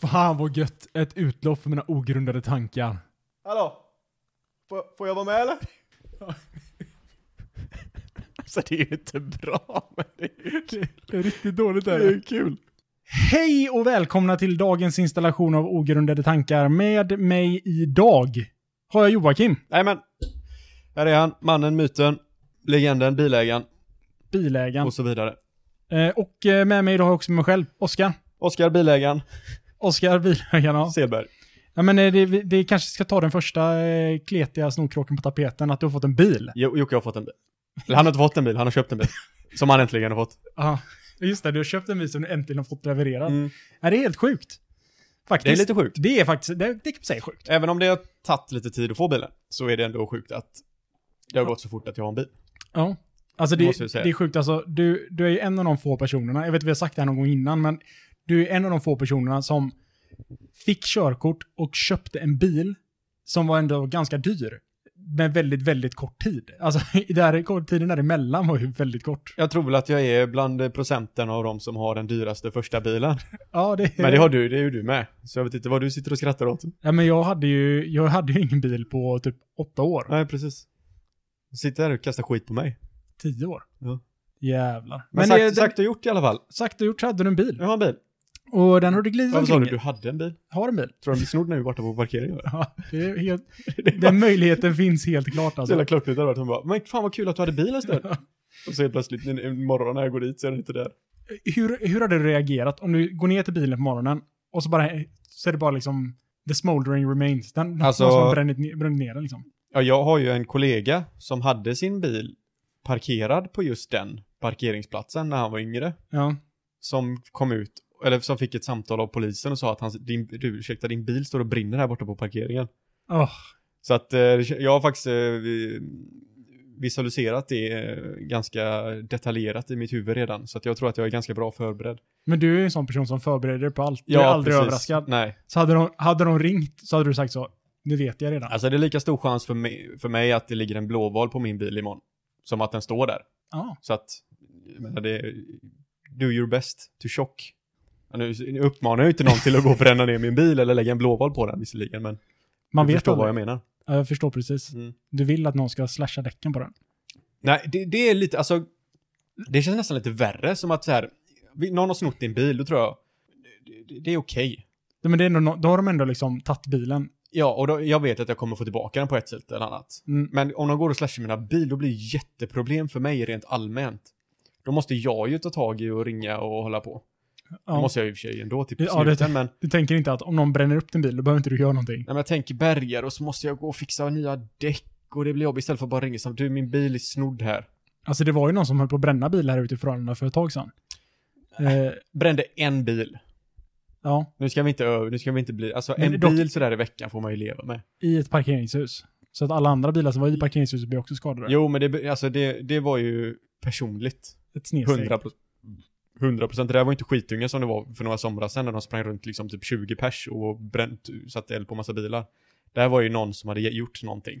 Fan vad gött. Ett utlopp för mina ogrundade tankar. Hallå? Får, får jag vara med eller? Alltså det är ju inte bra, men det är ju kul. Det är riktigt dåligt Det är ju kul. Hej och välkomna till dagens installation av ogrundade tankar. Med mig idag har jag Joakim, Nej men. Här är han, mannen, myten, legenden, bilägaren bilägaren. och så vidare. Eh, och eh, med mig idag har jag också mig själv, Oskar. Oskar, bilägaren, Oskar, bilägaren. Ja. Selberg. Ja, men eh, det, vi- det kanske ska ta den första eh, kletiga snorkråken på tapeten, att du har fått en bil. Jo, Jocke har fått en bil. Eller han har inte fått en bil, han har köpt en bil. Som han äntligen har fått. Ja, just det. Du har köpt en bil som du äntligen har fått levererad. Mm. Ja, det är helt sjukt. Faktiskt. Det är lite sjukt. Det är faktiskt, det, det kan man säga är sjukt. Även om det har tagit lite tid att få bilen, så är det ändå sjukt att det har gått så fort att jag har en bil. Ja. Alltså Det det, måste jag det, säga. är sjukt alltså. Du, du är ju en av de få personerna, jag vet att vi har sagt det här någon gång innan, men du är en av de få personerna som fick körkort och köpte en bil som var ändå ganska dyr. Med väldigt, väldigt kort tid. Alltså i det här, tiden däremellan var ju väldigt kort. Jag tror väl att jag är bland procenten av de som har den dyraste första bilen. Ja, det, Men det har du, det är ju du med. Så jag vet inte vad du sitter och skrattar åt. ja, men jag hade ju, jag hade ju ingen bil på typ åtta år. Nej, precis. Du sitter här och kastar skit på mig. Tio år. Ja. Jävlar. Men, det- sagt, det- sagt och gjort i alla fall. sagt och gjort så hade du en bil. Jag har en bil. Och den har du glidit Varför sa du omkring. du hade en bil? Har en bil. Tror du de blir snodd nu borta på parkeringen? eller? Ja, det är helt, Det är bara den möjligheten finns helt klart så jävla alltså. klockrent det hade varit. Hon bara, men fan vad kul att du hade bil en stund. Och så helt plötsligt en, en morgon när jag går dit så är den inte där. Hur, hur hade du reagerat om du går ner till bilen på morgonen och så bara så är det bara liksom the smoldering remains. Den, den Alltså- någon som har brännit, ner- bränt ner den liksom. Ja, jag har ju en kollega som hade sin bil parkerad på just den parkeringsplatsen när han var yngre. Ja. Som kom ut, eller som fick ett samtal av polisen och sa att hans, din, du, ursäkta, din bil står och brinner här borta på parkeringen. Åh, Så att eh, jag har faktiskt eh, vi- visualiserat det eh, ganska detaljerat i mitt huvud redan. Så att jag tror att jag är ganska bra förberedd. Men du är ju en sån person som förbereder dig på allt. Du är aldrig precis. överraskad. Nej. Så hade de, hade de ringt så hade du sagt så. Det vet jag redan. Alltså det är lika stor chans för mig, för mig att det ligger en blåval på min bil imorgon. Som att den står där. Ja. Så att, jag menar det, är- do your best to chock. Ja, Nu nu uppmanar jag ju inte någon till att gå och bränna ner min bil eller lägga en blåval på den visserligen, men Man du vet förstår aldrig. vad jag menar. Ja, jag förstår precis. Mm. Du vill att någon ska slasha däcken på den. Nej, det, det är lite, alltså, det känns nästan lite värre som att så här, vi- någon har snott din bil, då tror jag, det, det är okej. Ja, Men det är ändå, no- då har de ändå liksom tagit bilen. Ja, och då, jag vet att jag kommer få tillbaka den på ett sätt eller annat. Mm. Men om de går och slashar mina bil, då blir det jätteproblem för mig rent allmänt. Då måste jag ju ta tag i och ringa och hålla på. Det Ja. måste jag i och för sig ändå till Ja, det- slutändan, men, Du tänker inte att om någon bränner upp din bil, då behöver inte du göra någonting. nej, men jag tänker bergar och så måste jag gå och fixa nya däck och det blir jobbigt istället för att bara ringa samt du min bil är snodd här. Alltså det var ju någon som höll på att bränna bilar här ute i Frölunda för ett tag sedan. Eh, Brände en bil. ja, Nu ska vi inte över, nu ska vi inte bli, alltså Men en dock- bil sådär i veckan får man ju leva med. i ett parkeringshus. Så att alla andra bilar som var i parkeringshuset blev också skadade. Jo, men det, alltså det, det var ju personligt. Ett snedsteg. 100 100 procent. Det där var inte skitunga som det var för några somrar sedan när de sprang runt liksom typ 20 pers och bränt, satte eld på massa bilar. Det här var ju någon som hade ge- gjort någonting.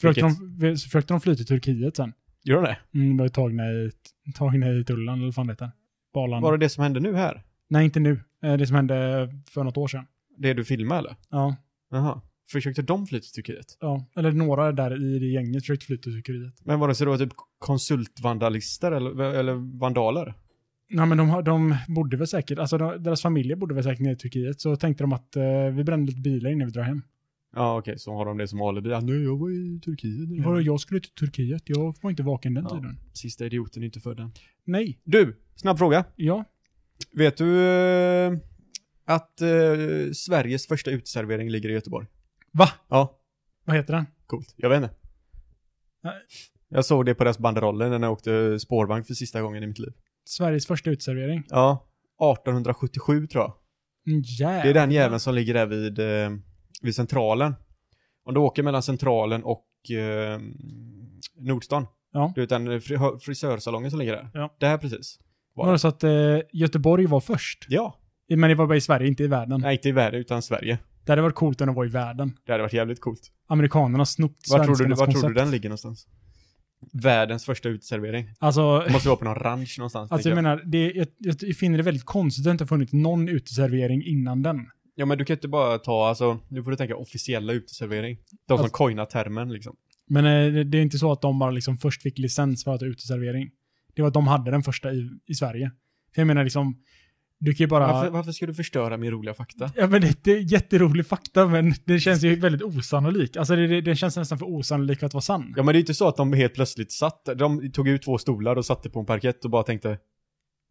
Försökte de, så försökte de fly till Turkiet sen. Gör de det? Mm, blev tagna i, tagna i tullen, eller vad fan det heter. På Arlanda. Var det det som hände nu här? Nej, inte nu. Eh, det som hände för något år sedan. Det du filmade eller? Ja, Jaha. Försökte de fly till Turkiet? ja. Eller några där i det gänget försökte fly till Turkiet. Men var det så då typ konsultvandalister eller, eller vandaler? Nej, men de, har- de bodde väl säkert, alltså de, deras familjer bodde väl säkert nere i Turkiet. Så tänkte de att eh, vi brände lite bilar innan vi drar hem. Ja okej, så har de det som alibi. Ja, nej, jag var i Turkiet. när det Vadå, hände. jag skulle till Turkiet. Jag var inte vaken den Ja. tiden. Sista idioten är inte född än. Nej. Du, snabb fråga. Ja. Vet du eh, att eh, Sveriges första uteservering ligger i Göteborg? Va? Ja, Vad heter den? coolt. Jag vet inte. Nej. Jag såg det på deras banderoller när jag åkte spårvagn för sista gången i mitt liv. Sveriges första uteservering. Ja, 1877 tror jag. Mm, Jävlar. Det är den jäveln som ligger där vid, eh, vid centralen. Om du åker mellan centralen och eh, Nordstan. Ja. Du vet den fri- frisörsalongen som ligger där. Ja. Där precis. Var det så att eh, Göteborg var först? Ja. Men det var bara i Sverige, inte i världen. Nej, inte i världen utan Sverige. Det hade varit coolt om det var i världen. Det hade varit jävligt coolt. Amerikanerna har snott Var tror, du, svenskarnas var tror du koncept. den ligger någonstans? Världens första uteservering. Alltså, Det måste vara på någon ranch någonstans. alltså tänker jag jag. menar, det, jag, jag, jag finner det väldigt konstigt att det inte har funnits någon uteservering innan den. Ja men du kan inte bara ta, alltså, nu får du tänka officiella uteservering. De som Alltså- coinar termen liksom. Men eh, det, det är inte så att de bara liksom först fick licens för att ha uteservering. Det var att de hade den första i, i Sverige. För jag menar liksom, du kan ju bara... Varför, varför ska du förstöra min roliga fakta? Ja men det, det är jätterolig fakta men det känns ju väldigt osannolik. Alltså det, det, den känns nästan för osannolik för att vara sann. Ja men det är inte så att de helt plötsligt satt, de tog ut två stolar och satte på en parkett och bara tänkte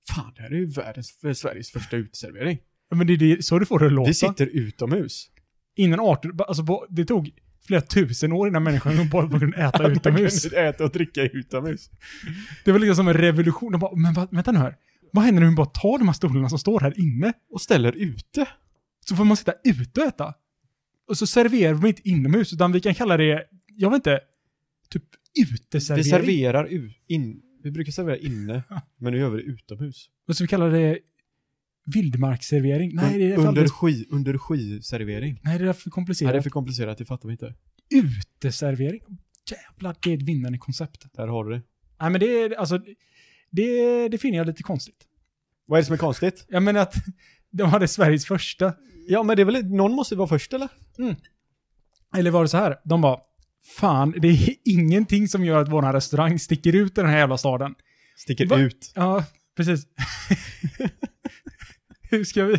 Fan, det här är ju världens, för Sveriges första uteservering. Ja, men det, det är så du får det att låta. Vi sitter utomhus. Innan 18, alltså på, det tog flera tusen år innan människan bara bara kunde äta Man kan utomhus. inte äta och dricka utomhus. Det var liksom som en revolution. De bara, men va, vänta nu här. Vad händer om vi bara tar de här stolarna som står här inne? Och ställer ute. Så får man sitta ute och äta. Och så serverar vi inte inomhus, utan vi kan kalla det, jag vet inte, typ Vi uteservering. serverar u- in. Vi brukar servera inne, men nu gör vi det utomhus. Och så vi kallar det vildmarksservering. Nej, det är för under, alldeles, ski, under skiservering. nej, det är för komplicerat. Nej, det är för komplicerat, det fattar vi inte. uteservering. Jävlar, det är ett vinnande koncept. Där har du det. Nej, men det är alltså, det, det finner jag lite konstigt. Vad är det som är konstigt? Jag menar att de hade Sveriges första. Ja, men det är väl, någon måste ju vara först eller? Eller var det så här? De bara, fan, det är ingenting som gör att våran restaurang sticker ut i den här jävla staden. Sticker Va? ut. Ja, precis. hur, ska vi,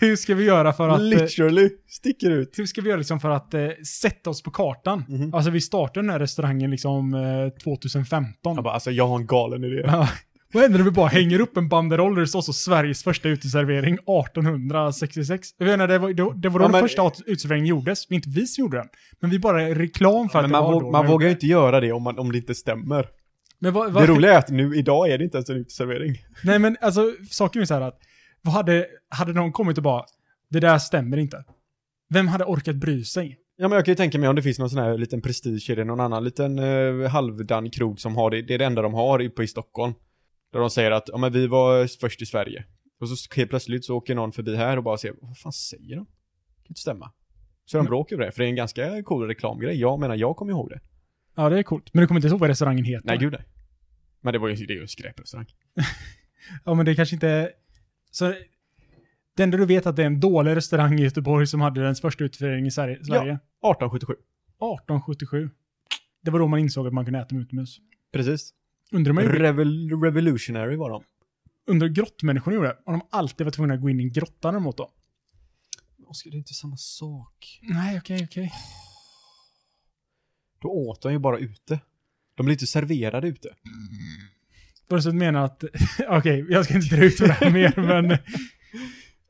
hur ska vi göra för att... eh, Literally sticker ut. Hur ska vi göra liksom för att eh, sätta oss på kartan? Mhm. Alltså vi startade den här restaurangen liksom eh, 2015. Jag bara, alltså jag har en galen idé. Ja. Vad händer om vi bara hänger upp en banderoll där det står så Sveriges första uteservering 1866? Jag vet inte, det var, det, var- det var då Ja, den men- första uteserveringen gjordes. Inte vi som gjorde den. Men vi bara är reklam för att Men det man, var vå- då man den vågar ju gjordes. inte göra det om, man, om det inte stämmer. Men vad, Det vad, roliga är att nu, idag är det inte ens en uteservering. Nej men alltså, saken är så här att, vad hade, hade någon kommit och bara, det där stämmer inte. Vem hade orkat bry sig? Ja men jag kan ju tänka mig om det finns någon sån här liten prestige i det, någon annan liten eh, halvdan krog som har det, det är det enda de har uppe i Stockholm. Där de säger att, ja men vi var först i Sverige. Och så helt plötsligt så åker någon förbi här och bara ser, vad fan säger de? Det kan inte stämma. Så de Men- bråkar över det, för det är en ganska cool reklamgrej. Jag menar, jag kommer ihåg det. Ja det är coolt. Men du kommer inte ihåg vad restaurangen heter? Nej, gud nej. Men det var ju, det är ju en skräprestaurang. Ja men det kanske inte... Så, det enda du vet är att det är en dålig restaurang i Göteborg som hade den första uteserveringen i Sverige. Sverige. 1877. 1877. Det var då man insåg att man kunde äta dem utomhus. Precis. Undrar man ju, Revol- revolutionary var de. undrar hur grottmänniskorna gjorde, om de alltid var tvungna att gå in i en grotta när de åt då. Oskar, det är inte samma sak. Nej, okej, okej. Då åt de ju bara ute. De blev inte serverade ute. Var det så att du menar att, okej, jag ska inte dra ut på det här mer, men...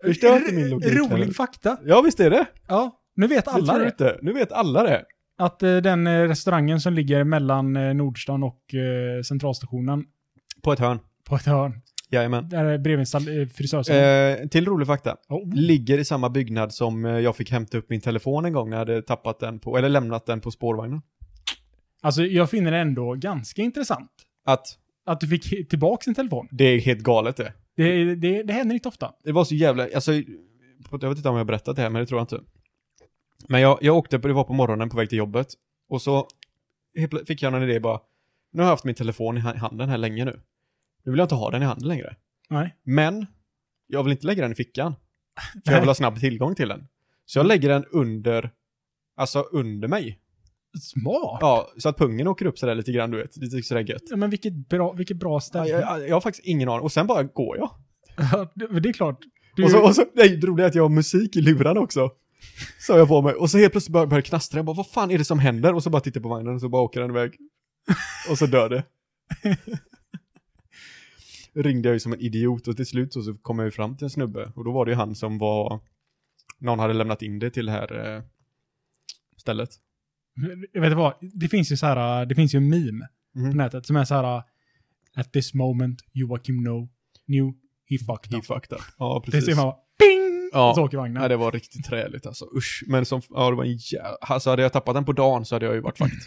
Förstör inte min logik här. Rolig fakta. Ja, visst är det. Ja, nu vet alla tror det. jag Inte. Nu vet alla det. Att eh, den eh, restaurangen som ligger mellan eh, Nordstan och eh, Centralstationen På ett hörn. på ett hörn, Jajamän. där är bredvid en sal- eh, frisörsalong. Eh, till rolig fakta. oh. Ligger i samma byggnad som eh, jag fick hämta upp min telefon en gång när jag hade tappat den på, eller lämnat den på spårvagnen. Alltså, jag finner det ändå ganska intressant. Att Att du fick tillbaka din telefon. det är helt galet det. Det, det, det händer inte ofta. Det var så jävla, alltså, jag vet inte om jag har berättat det här, men det tror jag inte. Men jag, jag åkte, på- det var på morgonen på väg till jobbet. Och så helt plö- fick jag någon idé bara, nu har jag haft min telefon i ha- handen här länge nu. Nu vill jag inte ha den i handen längre. Nej. Men, jag vill inte lägga den i fickan. För jag vill ha snabb tillgång till den. Så jag lägger den under, alltså under mig. Smart! Ja, så att pungen åker upp sådär lite grann, du vet. Lite sådär gött. Ja, men vilket bra, vilket bra Ja, ställe. Jag, jag har faktiskt ingen aning. Och sen bara går jag. Ja, det, det är klart. Du, Och så, och så, nej, det roliga är att jag har musik i lurarna också. Så jag på mig. Och så helt plötsligt börjar börjar det knastra. Jag bara, vad fan är det som händer? Och så bara tittar jag på vagnen och så bara åker den iväg. Och så dör det. Ringde jag ju som en idiot och till slut så, så kom jag ju fram till en snubbe. Och då var det ju han som var... Någon hade lämnat in det till det här eh, stället. jag vet du vad? Det finns ju så här, det finns ju en meme Mhm. på nätet som är så här At this moment Joakim no, knew he fucked He up. fucked up. Ja, Det ser precis. man bara, ping! Ja. Och så åker vagnen. Nej, det var riktigt träligt alltså. Usch. Men som, ja, det var en jävla... Alltså hade jag tappat den på dagen så hade jag ju varit fucked.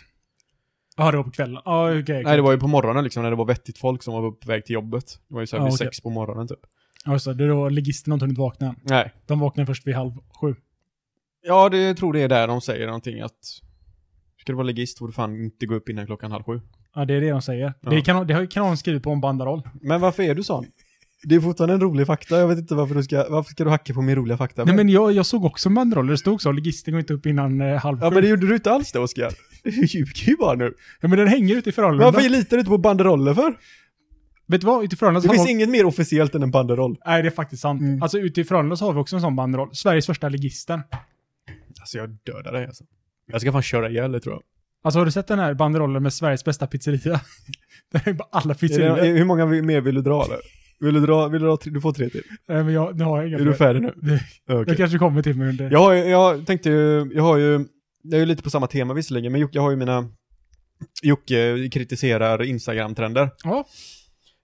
Ja, det var på kvällen. Ja, okej. okej. Nej, det var ju på morgonen liksom när det var vettigt folk som var på väg till jobbet. Det var ju såhär Ja, vid okej. sex på morgonen typ. Ja, så Alltså, det var ligisterna har inte hunnit vakna än. Nej. De vaknar först vid halv sju. Ja, det jag tror det är där de säger någonting att ska du vara legist får du fan inte gå upp innan klockan halv sju. Ja, det är det de säger. Ja. Det, kan, det kan någon skrivit på en banderoll. Men varför är du sån? Det är fortfarande en rolig fakta. Jag vet inte varför du ska, varför ska du hacka på min roliga fakta? Nej, men jag, jag såg också en banderoll. Det stod så, ligisten går inte upp innan eh, halv Ja sju. men det gjorde du inte alls det Oskar. Du ljuger ju bara nu. Ja, men den hänger ute i Frölunda. Varför litar du inte på banderoller för? Vet du vad? Ute i Frölunda så Det har finns vi... inget mer officiellt än en banderoll. Nej, det är faktiskt sant. Mm. Alltså ute i Frölunda så har vi också en sån banderoll. Sveriges första ligisten. Alltså jag dödar dig alltså. Jag ska fan köra ihjäl dig tror jag. Alltså har du sett den här banderollen med Sveriges bästa pizzeria? Där är bara alla Är det, pizzerior. hur många vi- mer vill du dra eller? Vill du dra, vill du dra, tre- du får tre till. Nej, men jag, nu har jag inga Är du fler. färdig nu? Det- Okej. Det kanske kommer till mig under... Jag, har ju- jag tänkte ju, jag har ju, jag är ju lite på samma tema visserligen, men Jocke, jag har ju mina, Jocke kritiserar Instagram-trender. Ja.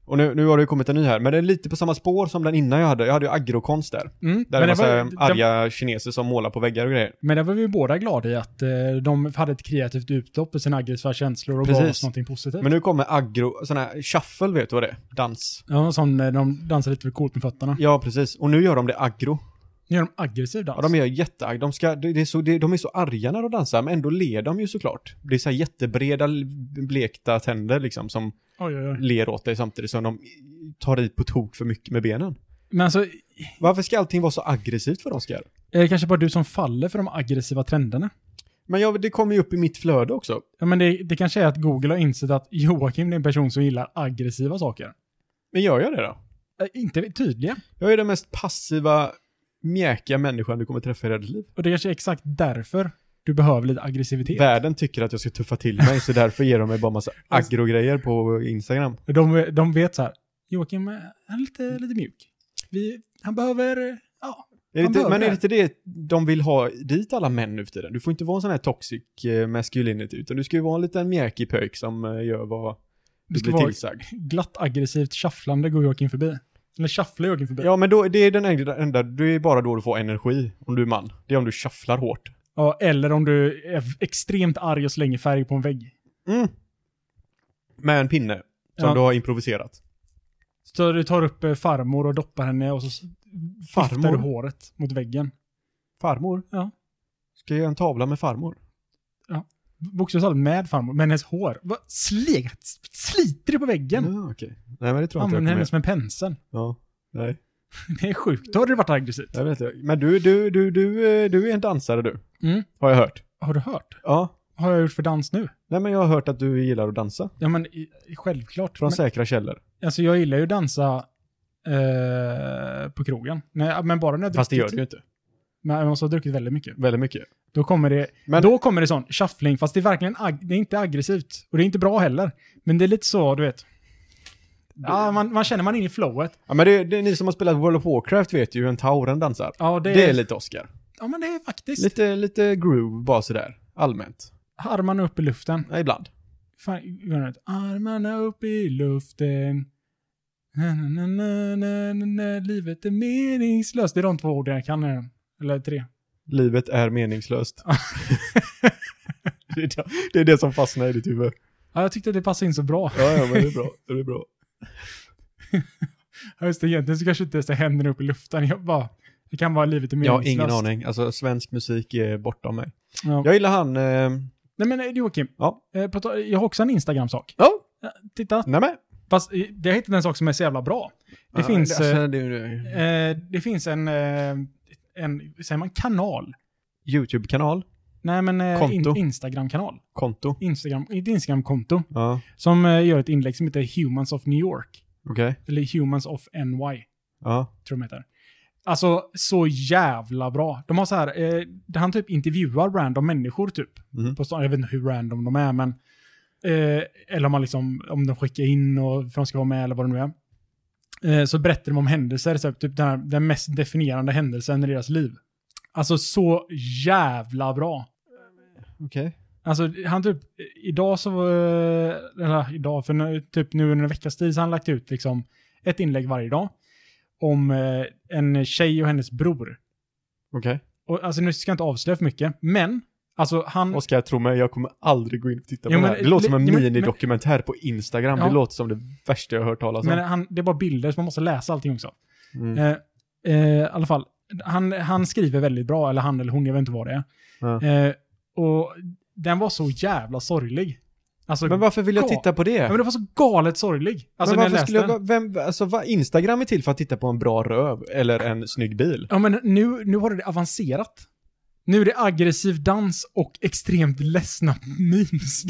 Och nu, nu har det ju kommit en ny här, men det är lite på samma spår som den innan jag hade. Jag hade ju agrokonst där. Mm. Där men det var den- arga kineser som målar på väggar och grejer. Men där var vi ju båda glada i att eh, de hade ett kreativt utlopp för sina aggressiva känslor och gav Precis. oss någonting positivt. Men nu kommer agro, sån här shuffle vet du vad det är? Dans. Ja, som när de dansar lite för coolt med fötterna. Ja, precis. Och nu gör de det agro. Nu gör de aggressiv dans. Ja, de är jättearga. De, ska, det det är så, det, de är så arga när de dansar, men ändå ler de ju såklart. Det är så här jättebreda, l- blekta tänder liksom som Oj, oj, oj. ler åt dig samtidigt som de tar i på tok för mycket med benen. Men alltså, Varför ska allting vara så aggressivt för Oskar? är det kanske bara du som faller för de aggressiva trenderna? Men jag, det kommer ju upp i mitt flöde också. Ja, men det, det kanske är att Google har insett att Joakim är en person som gillar aggressiva saker. Men gör jag det då? Eh, inte tydliga. Jag är den mest passiva, mjäkiga människan du kommer träffa i ditt liv. Och det kanske är exakt därför du behöver lite aggressivitet. Världen tycker att jag ska tuffa till mig, så därför ger de mig bara massa Alltså- aggro-grejer på Instagram. De, de vet så här, Joakim eh, han är lite, lite mjuk. Vi, han behöver, eh, ja, Är det Han inte, behöver men är det det. inte det de vill ha dit alla män nu för tiden? Du får inte vara en sån här toxic eh, masculinity, utan du ska ju vara en liten mjäkig pöjk som eh, gör vad du du ska blir vara tillsagd. glatt aggressivt tjafflande går Joakim förbi. Eller tjafflar Joakim förbi. Ja. Ja, men då, det är den enda, enda, det är bara då du får energi om du är man. Det är om du shufflar hårt. eller om du är extremt arg och slänger färg på en vägg. Mm. Med en pinne som Ja. du har improviserat. Så du tar upp eh, farmor och doppar henne och så s- viftar du Farmor? håret mot väggen. Farmor? Ja. Ska jag göra en tavla med farmor? Bokstavligt talat med farmor, men hennes hår. Va? Slet, sliter det på väggen? Ja, okej. Nej, men det tror jag inte Mm. Använder jag kommer henne göra. som en pensel. Ja, nej. Det är sjukt. Då har du varit aggressiv. Jag vet inte. Men du, du, du, du, eh, du är en dansare du. Mm. Har jag hört. Har du hört? Ja. Vad har jag gjort för dans nu? Nej, men jag har hört att du gillar att dansa. Ja, men i- självklart. Från Men, säkra källor. alltså, jag gillar ju att dansa eh, på krogen. Nej, men bara när jag Fast det druckit- gör du ju inte. Men jag måste ha druckit väldigt mycket. Väldigt mycket. Då kommer det, Men- då kommer det sån shuffling, fast det är verkligen ag- det är inte aggressivt. Och det är inte bra heller. Men det är lite så, du vet. Ja, man, man känner man är inne i flowet. Ja, men det, det är ni som har spelat World of Warcraft vet ju hur en tauren dansar. Ja, Det det, är, är... lite Oscar. Ja, men det är faktiskt. Lite, lite groove bara sådär. Allmänt. Armarna upp i luften. Ja, ibland. Fan, gör något. Armarna upp i luften. Na, na, na, na, na, na, na, livet är meningslöst. Det är de två orden jag kan. eh, Eller tre. Livet är meningslöst. det, är det, det är det som fastnar i ditt huvud. Ja, jag tyckte det passade in så bra. Ja, ja, men det är bra. Det är bra. Ja, just det, egentligen så kanske inte ens det händerna upp i luften. Jag bara, det kan vara livet är Jag har meningslöst. ingen aning. Alltså, svensk musik är bortom mig. Ja. Jag gillar han... Eh, Nej men eh, Joakim, Ja. eh, på ta- jag har också en Instagram-sak. ja, Ja, Titta, nej men. fast eh, jag hittade en sak som är så jävla bra. Det, Ja, finns, eh, Alltså, det, är- eh, det finns en, eh, en, säger man kanal? Youtube-kanal. Nej men eh, Konto. in, Instagram-kanal. Konto. Instagram, ett Instagram-konto. Ja, Som eh, gör ett inlägg som heter Humans of New York. okej. Eller Humans of NY, Ja. tror jag de heter. Alltså, så jävla bra. De har så här, eh, där han typ intervjuar random människor typ. Mhm. På stan. Jag vet inte hur random de är, men... Eh, eller om, man liksom, om de skickar in och för de ska vara med eller vad det nu är. Eh, så berättar de om händelser, så här, typ den, här, den mest definierande händelsen i deras liv. Alltså så jävla bra. Okej. Alltså han typ, idag så, eh, eller idag, för nu, typ nu under en veckas tid så har han lagt ut liksom ett inlägg varje dag om eh, en tjej och hennes bror. Okej. Och, alltså nu ska jag inte avslöja för mycket, men alltså han... Oskar, tro mig, jag kommer aldrig gå in och titta Jo, på men- det här. Det låter som en jo, men- minidokumentär på Instagram. Ja. Det låter som det värsta jag har hört talas om. Men han, det är bara bilder, så man måste läsa allting också. Mm. Eh, eh, I alla fall, han, han skriver väldigt bra, eller Eh, han eller hon, jag vet inte vad det är. Ja. Eh, och den var så jävla sorglig. Alltså, Men varför vill jag Ga- titta på det? ja, men det var så galet sorglig. Alltså men när jag varför läste skulle den. jag, vem, alltså vad, Instagram är till för att titta på en bra röv eller en snygg bil. Ja, men nu, nu har det avancerat. Nu är det aggressiv dans och extremt ledsna memes.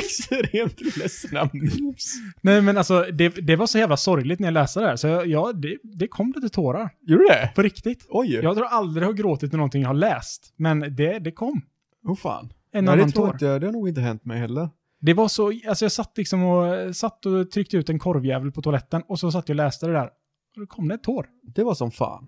Extremt ledsna memes. Nej, men alltså det, det var så jävla sorgligt när jag läste det här, så jag, ja, det, det kom lite tårar. Gjorde det? På riktigt. Oj. Ja. Jag tror aldrig jag har gråtit när någonting jag har läst, men det, det kom. Oh fan. En Nej, annan det tror tår. jag inte. Det har nog inte hänt mig heller. Det var så, alltså jag satt liksom och, satt och tryckte ut en korvjävel på toaletten och så satt jag och läste det där. Och då kom det ett tår. Det var som fan.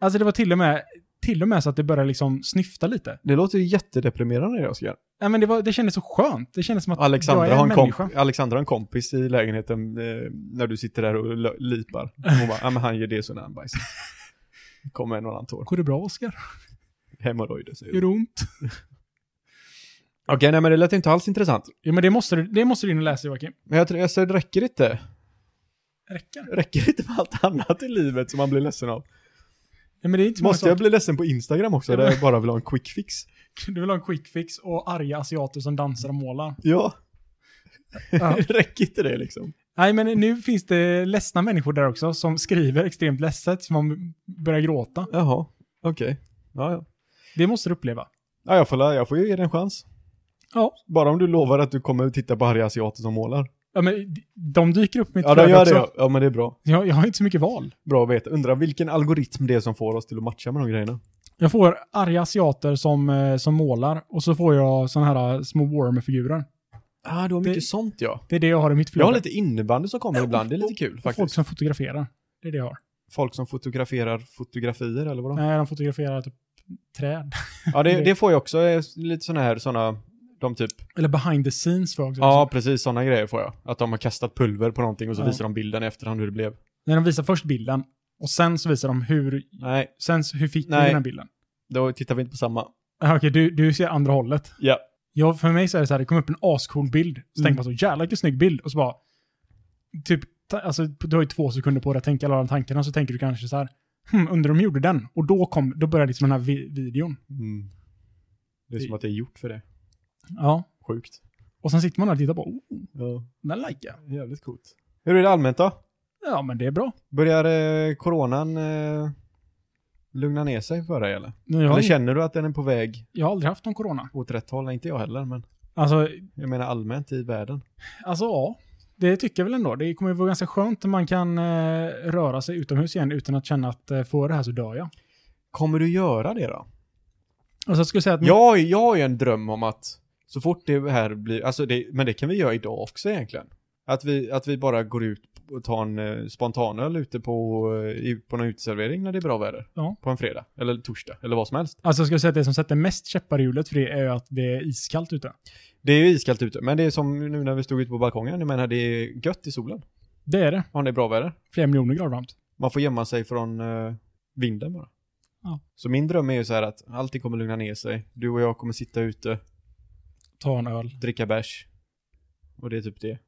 Alltså det var till och med, till och med så att det började liksom snyfta lite. Det låter ju jättedeprimerande det Oskar. Nej men det, var, det kändes så skönt. Det kändes som att jag Alexandra är har, en en komp- människa. Alexandra har en kompis i lägenheten eh, när du sitter där och lö- lipar. Hon bara, ja men han gör det så när han bajsar. Kommer en och annan tår. Går det bra Oskar? Hemorrojder säger Gör du. det ont? Okej, nej men det lät inte alls intressant. Jo men det måste, du- det måste du in och läsa Joakim. Men jag tror, jag säger, det räcker inte. Räcker det? Räcker inte med allt annat i livet som man blir ledsen av? Nej men det är inte så många Måste jag saker. bli ledsen på Instagram också, Ja, där men- jag bara vill ha en quick fix? Du vill ha en quick fix och arga asiater som dansar och målar. Ja. Ja. räcker inte det liksom? Nej, men nu finns det ledsna människor där också som skriver extremt ledset, som man börjar gråta. Jaha, okej. Ja, ja. Det måste du uppleva. ja jag, får, la- jag får ju ge det en chans. Ja. Bara om du lovar att du kommer titta på arga asiater som målar. Ja, men d- de dyker upp i mitt Ja, de flöde gör också. det. Ja, men det är bra. Jag, jag har inte så mycket val. Bra att veta. Undrar vilken algoritm det är som får oss till att matcha med de grejerna. Jag får arga asiater som, eh, som målar och så får jag såna här eh, små Warhammer-figurer. Ah, du har mycket sånt ja. Det är det jag har i mitt flöde. Jag har lite innebandy som kommer ibland, det är lite kul Och Folk faktiskt. som fotograferar. Det är det jag har. Folk som fotograferar fotografier eller vad de Nej, de fotograferar typ träd. Ja, det, Det- det får jag också. eh, Lite sådana här, sådana, de typ, Eller behind the scenes får jag också. ja precis sådana grejer får jag. Att de har kastat pulver på någonting och så Ja. visar de bilden i efterhand hur det blev. När de visar först bilden och sen så visar de hur, Nej, sen så, hur fick vi Nej. den här bilden. då tittar vi inte på samma. Ah, Okej, du, du ser andra hållet. Ja. Ja, för mig så är det så här, det kom upp en ascool bild. Så Mm. tänker man så, jävlar vilken snygg bild. Och så bara, typ, ta, alltså, du har ju två sekunder på dig att tänka alla de tankarna. Så tänker du kanske så här, hm, undrar om de gjorde den. Och då, kom, då började liksom den här vi videon. Mm. Det är som att det är gjort för det. Ja. Sjukt. Och sen sitter man där och tittar på, oh, Ja, den likar jag. jävligt coolt. Hur är det allmänt då? Ja, men det är bra. Börjar eh, coronan eh, lugna ner sig för dig eller? Nu, Jag har, Eller ing- känner du att den är på väg jag har aldrig haft någon corona. åt rätt håll? Nej, inte jag heller, men Alltså, jag menar allmänt i världen. alltså ja. Det tycker jag väl ändå. Det kommer ju vara ganska skönt när man kan eh, röra sig utomhus igen utan att känna att eh, får det här så dör jag. Kommer du göra det då? Alltså jag skulle säga att... Jag, har ju- jag har ju en dröm om att så fort det här blir, alltså det, men det kan vi göra idag också egentligen. Att vi, att vi bara går ut och tar en eh, spontanöl ute på, eh, i- på någon uteservering när det är bra väder. Ja. På en fredag, eller torsdag, eller vad som helst. Alltså jag skulle säga att det som sätter mest käppar i hjulet för det är ju att det är iskallt ute. Det är ju iskallt ute, men det är som nu när vi stod ute på balkongen, jag menar det är gött i solen. Det är det. Om det är bra väder. Flera miljoner grader varmt. Man får gömma sig från eh, vinden bara. Ja. Så min dröm är ju så här att allting kommer lugna ner sig. Du och jag kommer sitta ute, Ta en öl. dricka bärs. Och det är typ det.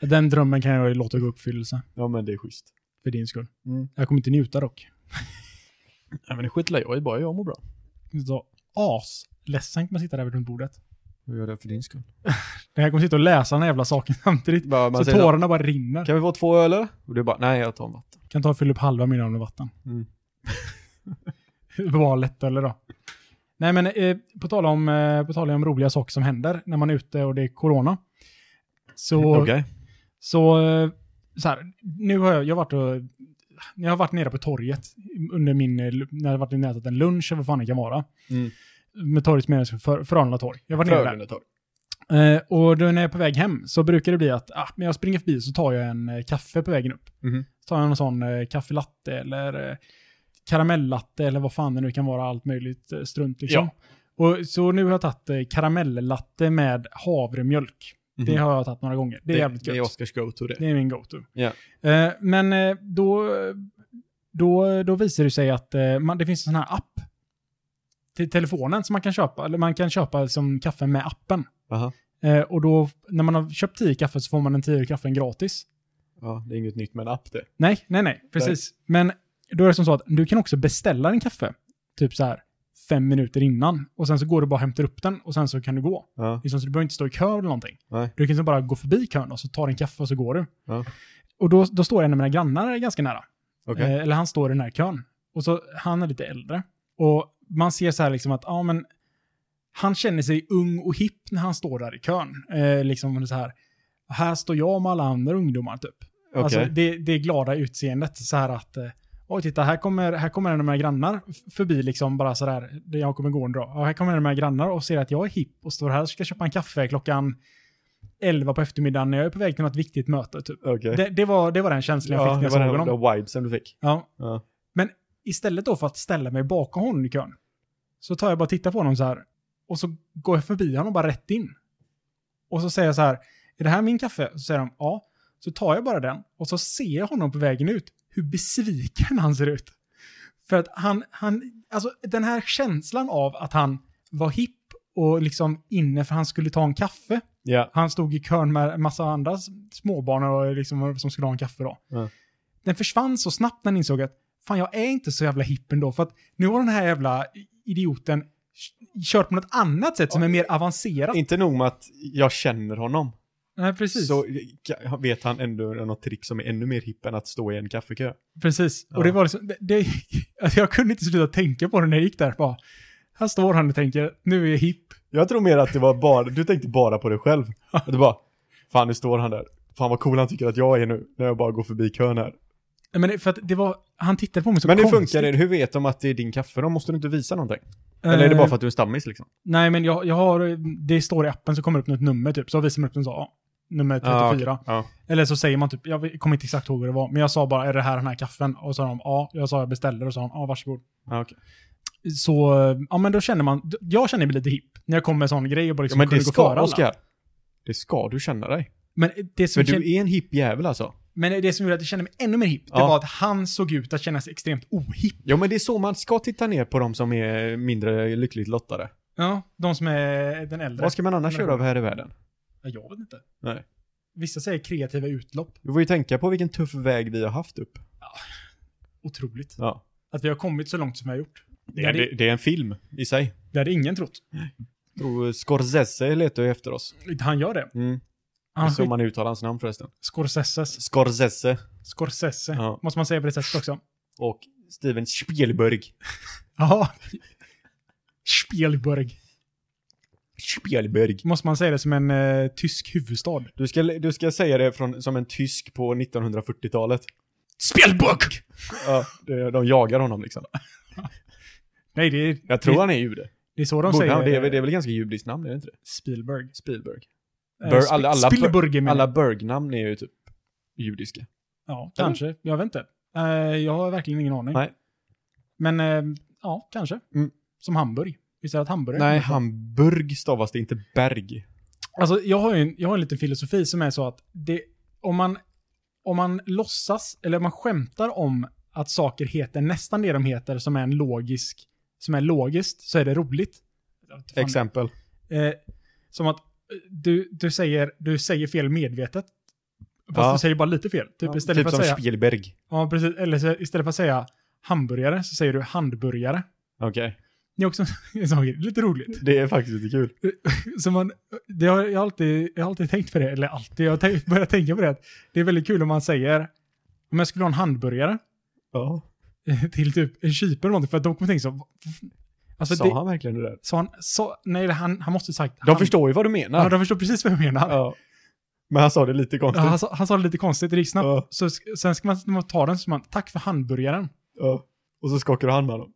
Den drömmen kan jag ju låta gå i uppfyllelse. Ja men det är schysst. För din skull. Mm. Jag kommer inte njuta dock. Nej men det skitlar jag i, bara jag mår bra. Så asledsen kommer sitta där vid runt bordet. Jag gör det för din skull. Det här kommer sitta och läsa den här jävla saken samtidigt. Bara, Så man säger, tårarna bara rinner. Kan vi få två öl eller? Och du bara, nej jag tar en vatten. Kan ta och fylla upp halva min öl med vatten. Mm. Bra lätt eller då. Nej men eh, på, tal om, eh, på tal om roliga saker som händer när man är ute och det är corona. Så... Så, eh, så här, nu har jag, jag har varit och, jag har varit nere på torget under min, eh, lu- när jag har varit nere och ätit en lunch eller vad fan det kan vara. Mm. Med torgets menas för, Frölunda torg. Jag var nere där. Frölunda torg. Eh, och då när jag är på väg hem så brukar det bli att, ah, men jag springer förbi så tar jag en eh, kaffe på vägen upp. Mhm. Så tar jag en sån eh, kaffelatte eller eh, karamellatte eller vad fan det nu kan vara, allt möjligt eh, strunt liksom. Och, så nu har jag tagit eh, karamellatte med havremjölk. Det Mhm. har jag tagit några gånger. Det är jävligt gött. Det är Oscars go-to det. Det är min go-to. Ja. Eh, men eh, då, då, då visar det sig att eh, man, det finns en sån här app till telefonen som man kan köpa. Eller man kan köpa som kaffe med appen. Aha. Eh, och då, när man har köpt 10 kaffe så får man den 10 kaffen gratis. Ja, det är inget nytt med en app det. Nej, nej, nej, precis. Men då är det som så att du kan också beställa en kaffe. Typ så här, fem minuter innan. Och sen så går du bara och hämtar upp den och sen så kan du gå. Ja. Liksom, så du behöver inte stå i kö eller någonting. Nej. Du kan liksom bara gå förbi kön och så tar en kaffe och så går du. Ja. Och då, då står en av mina grannar ganska nära. Okej. Eh, eller han står i den här kön. Och så, han är lite äldre. Och man ser så här liksom att, ja men, han känner sig ung och hipp när han står där i kön. Eh, liksom så här, här står jag med alla andra ungdomar typ. Okej. Alltså det, det glada utseendet så här att, eh, oj titta här kommer, här kommer en av mina grannar f- förbi liksom bara så där, där jag kommer gå en dag. Ja, här kommer en av mina grannar och ser att jag är hipp och står här och ska köpa en kaffe klockan 11 på eftermiddagen när jag är på väg till något viktigt möte typ. Okej. Det, det, var, det var den känslan jag Ja, fick när det jag var såg den, honom. den vibesen du fick. Ja. Ja. Men istället då för att ställa mig bakom honom i kön, så tar jag bara och tittar på honom så här. Och så går jag förbi honom bara rätt in. Och så säger jag så här, är det här min kaffe? Så säger de, ja. Så tar jag bara den och så ser jag honom på vägen ut, hur besviken han ser ut. För att han, han, alltså den här känslan av att han var hipp och liksom inne för han skulle ta en kaffe. Ja. Han stod i kön med en massa andra s- småbarn och liksom, som skulle ha en kaffe då. Ja. Den försvann så snabbt när han insåg att fan jag är inte så jävla hipp ändå för att nu har den här jävla idioten k- kört på något annat sätt som är mer avancerat. Inte nog med att jag känner honom. Nej, precis. Så ka- vet han ändå något trick som är ännu mer hipp än att stå i en kaffekö. precis. Ja. Och det var liksom, det, det, alltså, jag kunde inte sluta tänka på det när jag gick där. Bara, här står han och tänker, nu är jag hipp. Jag tror mer att det var bara, du tänkte bara på dig själv. Att du bara, fan nu står han där. Fan vad cool han tycker att jag är nu, när jag bara går förbi kön här. Nej, Men det- för att det var, han tittade på mig så Men hur konstigt. funkar det? Hur vet de att det är din kaffe då? Måste du inte visa någonting? Eller Eh, är det bara för att du är stammis liksom? Nej, men jag, jag har, det står i appen så kommer det upp något nummer typ. Så visar man upp den så, ja, nummer 34. Ja, Ah, okej. Ja. Eller så säger man typ, jag vet- kommer inte exakt ihåg vad det var, men jag sa bara är det här den här kaffen? Och så sa de ja, jag sa jag beställer och så sa de ja, varsågod. Ja, okej. Så, ja men då känner man, jag känner mig lite hipp när jag kommer med sån grej och bara ja, liksom men det kunde gå före ska, alla. Oskar. Det ska du känna dig. Men det, För som kän, du är en hipp jävel alltså. men det som gjorde att jag kände mig ännu mer hipp, det Ja. var att han såg ut att känna sig extremt ohipp. Ja men det är så man ska titta ner på de som är mindre lyckligt lottade. Ja, de som är den äldre. Vad ska man annars göra av här i världen? Ja, jag vet inte. Nej. Vissa säger kreativa utlopp. Du får ju tänka på vilken tuff väg vi har haft upp. Otroligt. Ja. Att vi har kommit så långt som vi har gjort. Det Ja, är, det- det, det är en film i sig. Det hade ingen trott. Jag tror Scorsese letar ju efter oss. Han gör det. Mm. Det är Han, så man uttalar hans namn förresten. Scorseses. Scorsese Scorsese. Ja. Måste man säga på det sättet också. och Steven Spielberg. Ja. Spielberg. Spielberg. Måste man säga det som en eh, tysk huvudstad? Du ska, du ska säga det från, som en tysk på 1940-talet. Spielberg! Ja, det- de jagar honom liksom. Nej, det är, Jag tror det, han är jude. det är så de Borde säger. eh, han, det, är, väl- det är väl ganska judiskt namn, är det inte det? Spielberg. Spielberg. Eh, Bör- Sp- alla- alla- Spielberg menar Alla jag. Berg-namn är ju typ judiska. Ja, kanske. Jag vet inte. Eh, jag har verkligen ingen aning. Nej. Men eh, ja, kanske. Mm. Som Hamburg. Visst är det att Hamburg? Nej, Hamburg stavas det inte Berg. Alltså, jag har ju en, jag har en liten filosofi som är så att det, om, man, om man låtsas, eller om man skämtar om att saker heter nästan det de heter som är en logisk, som är logiskt, så är det roligt. Jag vet inte fan. Exempel. Eh, som att eh, du, du, säger, du säger fel medvetet. Fast Ja. du säger bara lite fel. Typ, Ja, istället typ för som att säga, Spielberg. ja, precis, eller så, istället för att säga hamburgare så säger du handburgare. Okej. Det är också en sån grej. Lite roligt. Det är faktiskt lite kul. Så man, det har, jag, har alltid, jag har alltid tänkt på det, eller alltid, jag har tänkt, börjat tänka på det. att Det är väldigt kul om man säger, om jag skulle ha en hamburgare Ja. eh, till typ en kypare eller någonting, för att de kommer tänka så. Alltså, Sa det, han verkligen det där? sa han? Sa, nej, han, han måste ha sagt. De han, förstår ju vad du menar. Ja, de förstår precis vad jag menar. Ja. Men han sa det lite Ja, konstigt. han, sa, han sa det lite konstigt, det gick snabbt. Ja, Så, sk- sen ska man, när man tar den så ska man, tack för hamburgaren. ja. Och så skakar du hand med honom.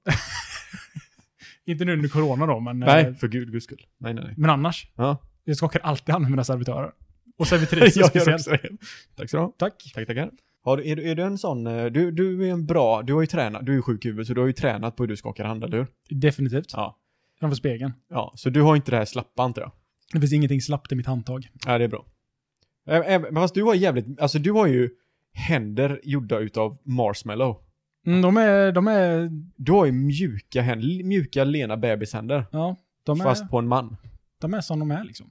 Inte nu under corona då, men, eh, Nej, för gud, guds skull. Nej, nej, nej. men annars. Ja. Jag skakar alltid hand med mina servitörer. Och servitriser Jag gör speciellt. också det. Tack så du ha. Tack. Tack, tackar. Har, du- är, du- är du en sån, eh, du, du är en bra, du har ju tränat, du är ju sjuk i huvudet, så du har ju tränat på hur du skakar hand, eller hur? Definitivt. Ja. Framför spegeln. Ja, så du har inte det här slappa, antar jag? Det finns ingenting slappt i mitt handtag. Ja, det är bra. Ä- ä- Men fast du har jävligt, alltså du har ju händer gjorda utav marshmallow. Mm, de är, de är, Du har ju mjuka händer, mjuka lena bebishänder. ja, de är, Fast på en man. de är som de är liksom.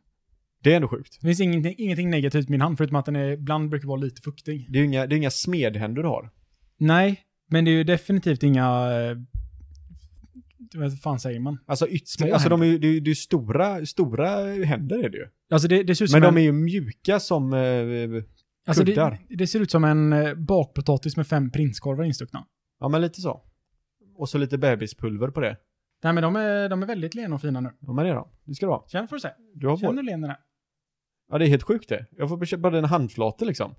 Det är ändå sjukt. Det finns ingenting, ingenting negativt i min hand, förutom att den är, ibland brukar vara lite fuktig. Det är ju inga, det är inga smedhänder du har. Nej, men det är ju definitivt inga eh, vad fan säger man? Alltså, Små ytterst, alltså de är ju, det, är ju- det är ju stora, stora händer är det ju. Alltså det, det ser ut som Men en, de är ju mjuka som... eh, alltså det, kuddar. det ser ut som en eh, bakpotatis med fem prinskorvar instuckna. Ja, men lite så. Och så lite bebispulver på det. Nej men de är, de är väldigt lena och fina nu. Ja, men det då. Det ska det vara. Känn får du se. Du har Känn på. hur len den är. Ja, det är helt sjukt det. Jag får köpa en handflata liksom.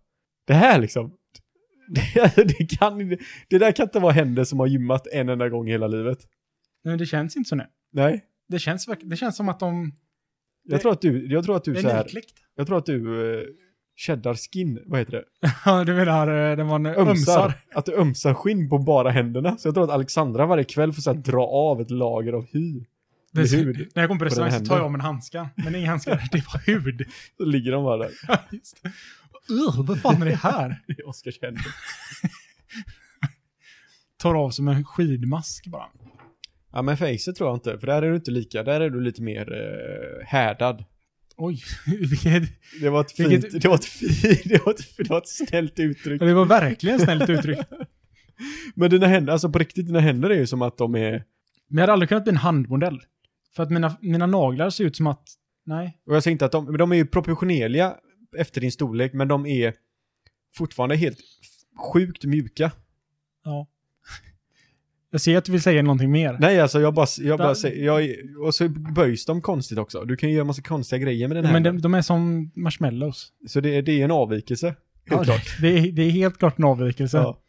Det här liksom. Det, det, kan, det där kan inte vara händer som har gymmat en enda gång i hela livet. Nej, men det känns inte så nu. Nej. Det känns, verk- det känns som att de... Det- Jag tror att du, jag tror att Det du så är här, nykläckt. jag tror att du eh, cheddar skin, vad heter det? Ja, du menar eh, den var en Ömsar. ömsar. Att du ömsar skinn på bara händerna. Så jag tror att Alexandra varje kväll får så här, dra av ett lager av hy. Det, Med hud. när jag kommer på restaurang så händer. tar jag av mig en handska. Men det är ingen handska, det var hud. Så ligger de bara där Ja, Just. det. Ugh, vad fan är det här? i Oskars händer. Tar av som en skidmask bara. Ja men facet tror jag inte, för där är du inte lika, där är du lite mer eh, härdad. Oj, vilket... Det var ett fint, Vilket- det var ett fint, det var ett, det var ett snällt uttryck. Det var verkligen snällt uttryck. Men dina händer, alltså på riktigt, dina händer är ju som att de är, Men jag hade aldrig kunnat bli en handmodell. För att mina, mina naglar ser ut som att... Nej. och jag säger inte att de, men de är ju proportionerliga efter din storlek, men de är fortfarande helt sjukt mjuka. Ja. Jag ser att du vill säga någonting mer. Nej alltså jag bara, jag Där- bara säger, jag, är- och så böjs de konstigt också. Du kan ju göra massa konstiga grejer med den här. Men de, de är som marshmallows. Så det, är- det är en avvikelse, helt Ja, klart. Det, är, det är helt klart en avvikelse. Ja.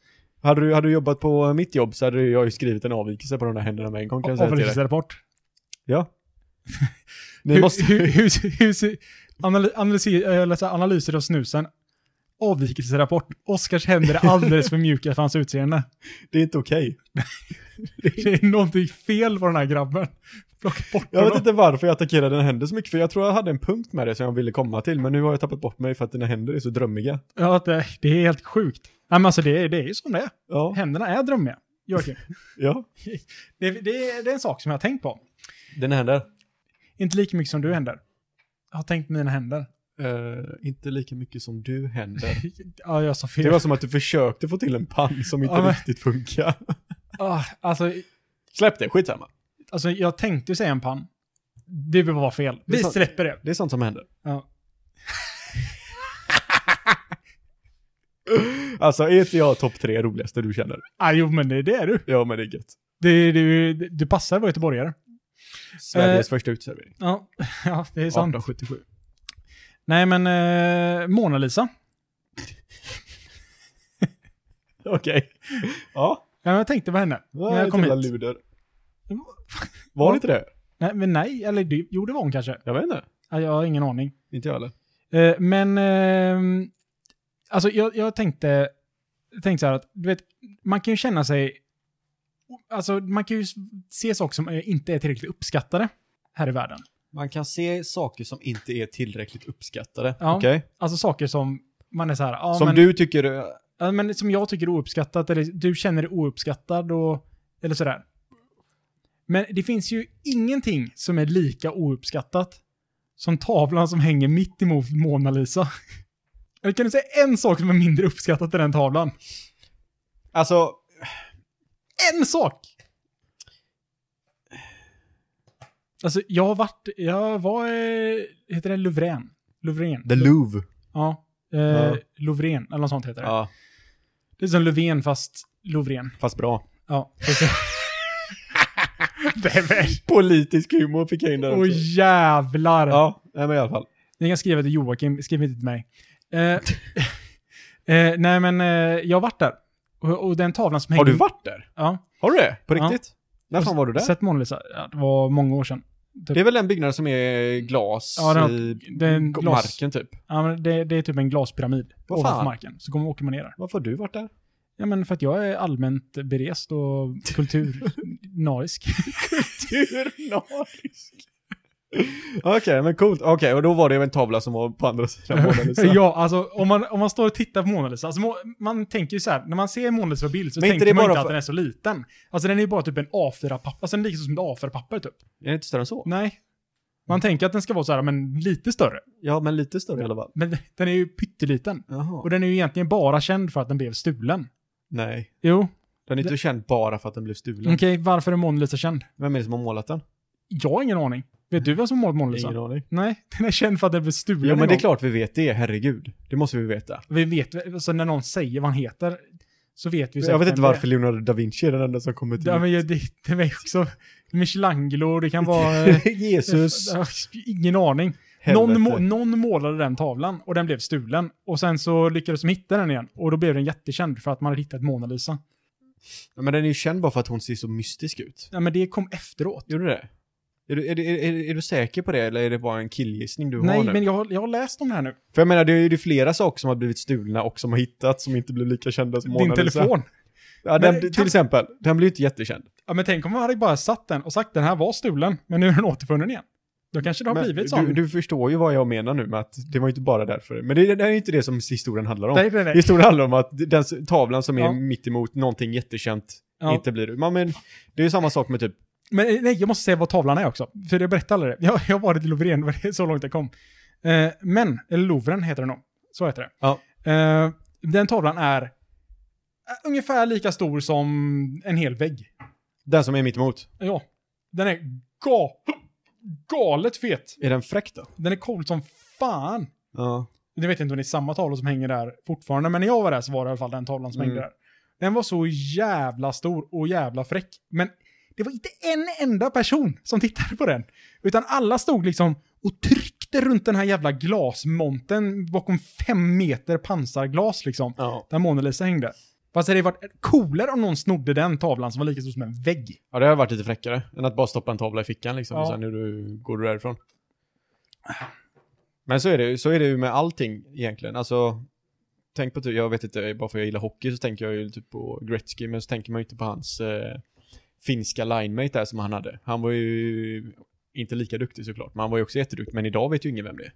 Hade du, hade du jobbat på mitt jobb så hade jag ju skrivit en avvikelse på de där händerna med en gång kan jag säga till dig. Avvikelserapport. Ja. Ni Hur, måste... måste... hur, hur, hur, ser- anal- analyser, eller så här, analyser av snusen. Avvikelserapport. Oskars händer är alldeles för mjuka för hans utseende. Det är inte okej. Det är någonting fel på den här grabben. Plocka bort Jag vet honom. inte varför jag attackerade dina händer så mycket, för jag tror jag hade en punkt med det som jag ville komma till, men nu har jag tappat bort mig för att dina händer är så drömmiga. Ja, att det, det är helt sjukt. Nej, men alltså det, är- det är ju som det är. Ja, Händerna är drömmiga. Joakim. ja. Det, det, är- det är en sak som jag har tänkt på. Dina händer? Inte lika mycket som du händer. Jag har tänkt på mina händer. Eh, inte lika mycket som du händer. Ja, jag sa fel. Det var som att du försökte få till en pann som inte Ja, men- riktigt funkar. ah, alltså, Släpp det, skitsamma. alltså, jag tänkte säga en pann. Det var fel. Det är Vi sant. släpper det. Det är sånt som händer. Ja. Alltså, är inte jag topp tre roligaste du känner? Ah, jo, men det, det är du. Ja, men det är gött. Du, du, du passar vår göteborgare. Sveriges Eh, första uteservering. Ja, ja det är sant. 1877. Nej, men eh, Mona Lisa. Okej. Ja, Ja, men jag tänkte på henne. det när var jag ett kom jävla hit. luder. Det Var det inte det? Nej, men nej, eller det, jo, det var hon kanske. Jag vet inte. Ja, jag har ingen aning. Inte jag heller. Eh, men, eh, alltså jag, jag tänkte, tänkte så här att, du vet, man kan ju känna sig, alltså man kan ju se saker som eh, inte är tillräckligt uppskattade här i världen. Man kan se saker som inte är tillräckligt uppskattade. Ja. Okej? Alltså saker som man är så här, ja, som men, du tycker... eh, ja, men som jag tycker är ouppskattat, eller du känner dig ouppskattad och, eller sådär. Men det finns ju ingenting som är lika ouppskattat som tavlan som hänger mitt emot Mona Lisa. Kan du säga en sak som är mindre uppskattat än den tavlan? Alltså, en sak. Alltså, jag har varit, jag var, eh, heter det Louvren? Louvren? The Louvre. ja. Eh, Ja. Louvren, eller något sånt heter det. Ja, Det är som Löfven fast Louvren. fast bra. Ja. det är väl... Politisk humor fick jag in där Åh jävlar! Ja, nej men i alla fall. Ni kan skriva till Joakim, skriv inte till mig. Eh, eh, nej men, eh, jag har varit där. Och, och den tavlan som Har du hänger- varit där? Ja. Har du det? På Ja. riktigt? När fan var du där? Sett Mona Lisa? Ja, det var många år sedan. Det är väl den byggnaden som är glas Ja, den har- i det är en glas- marken typ. Ja, men det, det är typ en glaspyramid Vad ovanför fan? marken. Så kommer, åker man ner där. Varför har du varit där? Ja, men för att jag är allmänt berest och kulturnarisk. Turnarisk. Okej, men coolt. Okej, och då var det en tavla som var på andra sidan liksom. Mona Lisa. ja, alltså om man, om man står och tittar på Mona Lisa. Alltså, må- man tänker ju så här, när man ser Mona Lisa på bild så Men inte tänker det man bara inte att för- den är så liten. Alltså den är ju bara typ en A4-papper. Alltså den är liksom som ett A4-papper typ. Är det inte större än så? Nej. Man Mm. tänker att den ska vara så här, men lite större. Ja, men lite större i alla fall. Men den är ju pytteliten. Jaha. Och den är ju egentligen bara känd för att den blev stulen. Nej, Jo, Den är inte känd bara för att den blev Okej, stulen. varför är Mona Lisa känd? Vem är det som har målat den? Jag har ingen aning. Vet du vem som målat Mona Lisa? Ingen aning. Nej, den är känd för att den blev stulen Jo en men det är gång. klart vi vet det, herregud. Det måste vi veta. Vi vet, alltså när någon säger vad han heter, så vet vi Jag säkert vet inte vem det är. varför Leonardo da Vinci är den enda som kommer till. Ja, men jag- det, det är också Michelangelo, det kan vara... eh, Jesus. eh, Ingen aning. Helvete. Någon, må, någon målade den tavlan och den blev stulen. Och sen så lyckades de hitta den igen. Och då blev den jättekänd för att man hade hittat Mona Lisa. Ja, men den är ju känd bara för att hon ser så mystisk ut. Ja, men det kom efteråt. Gjorde du det? Är du, är, du, är, du- är du säker på det eller är det bara en killgissning du har Nej, nu? men jag, har- jag har läst om det här nu. För jag menar, det är ju det är flera saker som har blivit stulna och som har hittats som inte blev lika kända som Din Mona Lisa. telefon. Ja, Men den, kan- Till exempel, den blir ju inte jättekänd. Ja, men tänk om man hade bara satt den och sagt den här var stulen, men nu är den återfunnen igen. Då kanske det har Men blivit så. du, du förstår ju vad jag menar nu med att det var ju inte bara därför. Men det, det är ju inte det som historien handlar om. Nej, nej, nej. Historien handlar om att den s- tavlan som är Ja. mitt emot någonting jättekänt Ja. inte blir... Man, men, det är ju samma sak med typ... Men eh, nej, jag måste säga vad tavlan är också. För jag berättade aldrig det. Jag, jag var i Louvren, det var så långt jag kom. Eh, men, eller Louvren heter den nog. Så heter det. Ja. Eh, den tavlan är eh, ungefär lika stor som en hel vägg. Den som är mitt emot. Ja. Den är ga galet fet. Är den fräck då? Den är cool som fan. Ja. Jag vet inte om det är samma tavla som hänger där fortfarande, men när jag var där så var det i alla fall den tavlan som Mm. hängde där. Den var så jävla stor och jävla fräck. Men det var inte en enda person som tittade på den. Utan alla stod liksom och tryckte runt den här jävla glasmonten bakom fem meter pansarglas liksom. Ja. Där Mona Lisa hängde. Fast det hade varit coolare om någon snodde den tavlan som var lika stor som en vägg. Ja, det har varit lite fräckare än att bara stoppa en tavla i fickan liksom och Ja. sen är du, går du därifrån. Men så är det ju, så är det ju med allting egentligen. Alltså, tänk på typ, jag vet inte, bara för jag gillar hockey så tänker jag ju typ på Gretzky, men så tänker man ju inte på hans eh, finska linemate där som han hade. Han var ju inte lika duktig såklart, men han var ju också jätteduktig, men idag vet ju ingen vem det är.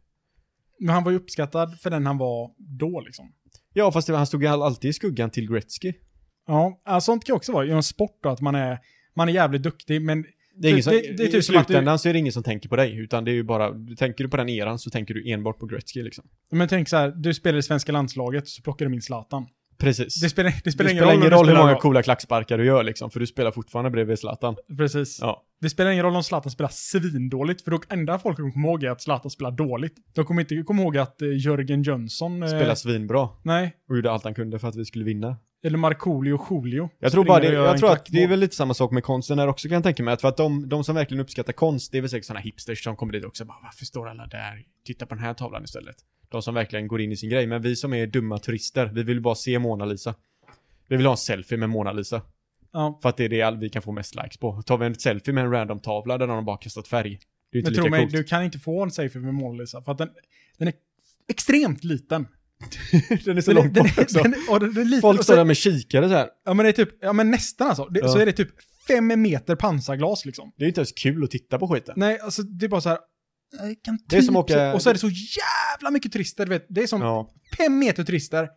Men han var ju uppskattad för den han var då liksom. Ja, fast det, var- han stod ju all- alltid i skuggan till Gretzky. Ja, alltså, sånt kan ju också vara. Genom sport då, att man är, man är jävligt duktig, men Det är ingen som, Det- det- det är I typ som att du- slutändan så är det ingen som tänker på dig, utan det är ju bara, tänker du på den eran så tänker du enbart på Gretzky liksom. Men tänk så här, du spelar i svenska landslaget så plockar du in Zlatan. Precis. Det spelar, det Det spelar spelar, ingen roll, om ingen du roll hur spelar många bra. coola klacksparkar du gör liksom, för du spelar fortfarande bredvid Zlatan. Precis. Ja. Det spelar ingen roll om Zlatan spelar svindåligt, för då enda folk kommer komma ihåg är att Zlatan spelar dåligt. De kommer inte komma ihåg att eh, Jörgen Jönsson... eh, Spelar svinbra Nej. och gjorde allt han kunde för att vi skulle vinna. Eller Markoolio och Julio. Jag tror Springer bara och det, gör jag en tror att klackmål. det är väl lite samma sak med konstnärer också kan jag tänka mig. Att för att de, de som verkligen uppskattar konst, det är väl säkert sådana hipsters som kommer dit också bara varför står alla där? Titta på den här tavlan istället. De som verkligen går in i sin grej. Men vi som är dumma turister, vi vill bara se Mona Lisa. Vi vill ha en selfie med Mona Lisa. Ja. För att det är det all- vi kan få mest likes på. Tar vi en selfie med en random tavla där någon har bara kastat färg. Det är inte Men tro lika mig, coolt. du kan inte få en selfie med Mona Lisa, för att den, den är extremt liten. den är så Den, långt den, bort är- också. den, är- och den är liten. Folk och står så, där med kikare så här. ja, men det är typ, ja, men nästan alltså. Det, Ja. Så är det typ fem meter pansarglas liksom. Det är inte ens kul att titta på skiten. Nej, alltså det är bara så här. jag Kan typ, Det är som åka- Och så är det så jävla mycket turister, du vet. Det är som Ja. fem meter turister,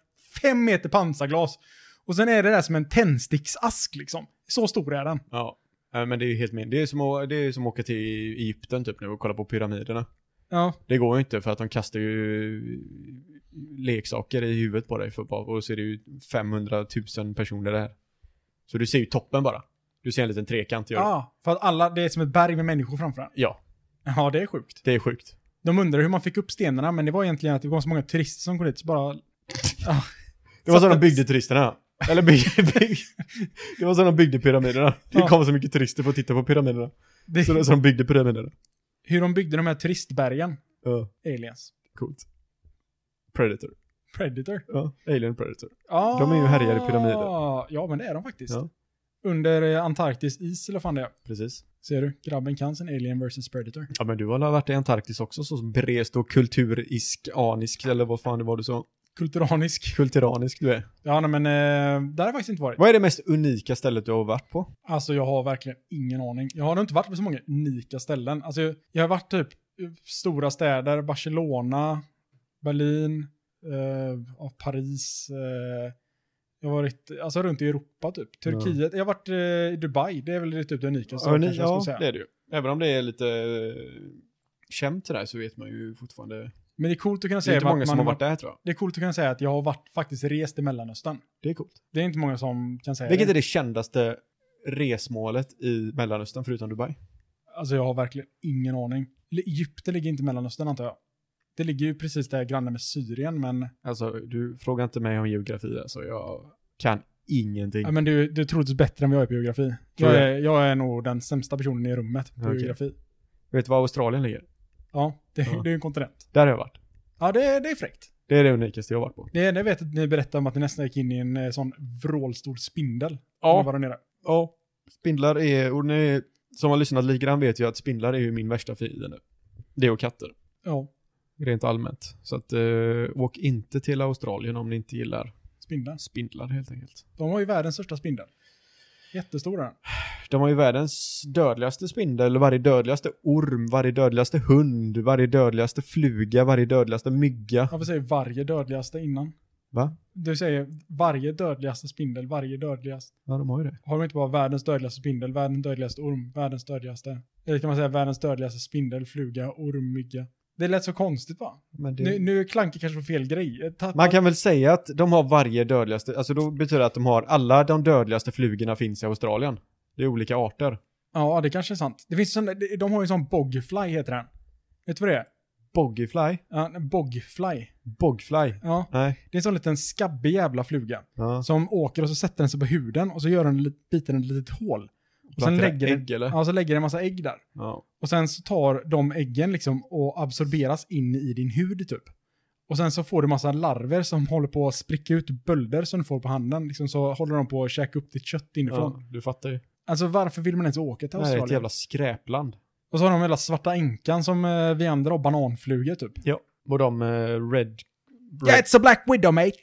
fem meter pansarglas. Och sen är det där som en tändsticksask liksom. Så stor är den. ja. Nej, Men det är ju helt min. Det är som att, det är som att åka till Egypten typ nu och kolla på pyramiderna. Ja. Det går ju inte för att de kastar ju leksaker i huvudet på dig för bara, och så är det ju 500 000 personer där. Så du ser ju toppen bara. Du ser en liten trekant. Gör du. Ja, Ah, för att alla, det är som ett berg med människor framför en. Ja, Ja, det är sjukt. det är sjukt. De undrar hur man fick upp stenarna, men det var egentligen att det var så många turister som kom dit, så bara... Ja. Det var så de att- byggde turisterna. Eller bygg, bygg. Det var så de byggde pyramiderna. Det Ja. kom så mycket turister för att titta på pyramiderna. Det, Så, så de byggde pyramiderna. Hur de byggde de här turistbergen. Ja, Aliens. coolt. Predator. Predator. Ja, Alien Predator. Ah, De är ju härjare i pyramider. Ja, men det är de faktiskt. Ja. Under eh, Antarktis is, eller vad fan det är. Precis. Ser du? Grabben kan sin Alien vs Predator. Ja men du har väl varit i Antarktis också så berest och kulturisk, anisk eller vad fan det var du sa? Kulturanisk. Kulturanisk du är. Ja, nej, men eh, där har jag faktiskt inte varit. Vad är det mest unika stället du har varit på? Alltså, jag har verkligen ingen aning. Jag har nog inte varit på så många unika ställen. Alltså, jag, jag har varit typ i stora städer, Barcelona, Berlin, eh, ja, Paris. Eh, jag har varit alltså, runt i Europa, typ. Turkiet. Jag har varit eh, i Dubai. Det är väl det typ det unikaste. ni- kanske jag skulle säga. det är det ju. Även om det är lite eh, känt det där så vet man ju fortfarande Men det är coolt att kunna Det är säga inte att många som har man- varit där tror jag. Det är coolt att kunna säga att jag har varit, faktiskt rest i Mellanöstern. Det är coolt. Det är inte många som kan säga Vilket det. är det kändaste resmålet i Mellanöstern förutom Dubai? Alltså jag har verkligen ingen aning. L- Egypten ligger inte i Mellanöstern antar jag. Det ligger ju precis där granne med Syrien, men, Alltså, du frågar inte mig om geografi alltså. Jag kan ingenting. ja, men du, du är troligtvis bättre än vad jag är på geografi. Tror Jag är, jag är nog den sämsta personen i rummet på Okej. geografi. Vet du var Australien ligger? Ja, det, Ja. det är ju en kontinent. Där har jag varit. Ja, det, det är fräckt. Det är det unikaste jag har varit på. Det, det vet jag att ni berättade om att ni nästan gick in i en eh, sån vrålstor spindel. när ni Var där nere. ja. Spindlar är, och ni som har lyssnat lite grann vet ju att spindlar är ju min värsta fiende. Det och katter. Ja, Rent allmänt. Så att eh, åk inte till Australien om ni inte gillar spindeln. spindlar helt enkelt. De har ju världens största spindel. Jättestor är den. De har ju världens dödligaste spindel, varje dödligaste orm, varje dödligaste hund, varje dödligaste fluga, varje dödligaste mygga. Varför säger varje dödligaste innan? Va? Du säger varje dödligaste spindel, varje dödligast. Ja, de har ju det. Har de inte bara världens dödligaste spindel, världens dödligaste orm, världens dödligaste? Eller kan man säga världens dödligaste spindel, fluga, orm, mygga? Det lät så konstigt va? Men det... Nu, nu klankar kanske på fel grej. Eh, Tappa, Man kan väl säga att de har varje dödligaste, alltså då betyder det att de har alla de dödligaste flugorna finns i Australien. Det är olika arter. Ja, det kanske är sant. Det finns sån, de de har ju en sån bogfly heter den. Vet du vad det är? Boggyfly? Ja, en bogfly. Bogfly? Ja, Nej. det är en sån liten skabbig jävla fluga. Ja. Som åker och så sätter den sig på huden och så gör den, li- biter den ett litet hål. Och sen Planterar lägger, den, ägg, eller? Ja, så lägger den en massa ägg där. Ja. Och sen så tar de äggen liksom och absorberas in i din hud typ. Och sen så får du massa larver som håller på att spricka ut bölder som du får på handen. Liksom så håller de på att käka upp ditt kött inifrån. ja. Du fattar ju. Alltså varför vill man ens åka till Det här är ett Australien? jävla skräpland. Och så har de hela svarta änkan som eh, vi andra har bananflugor typ. Ja. Och de eh, red... Ja, it's a black widow mate!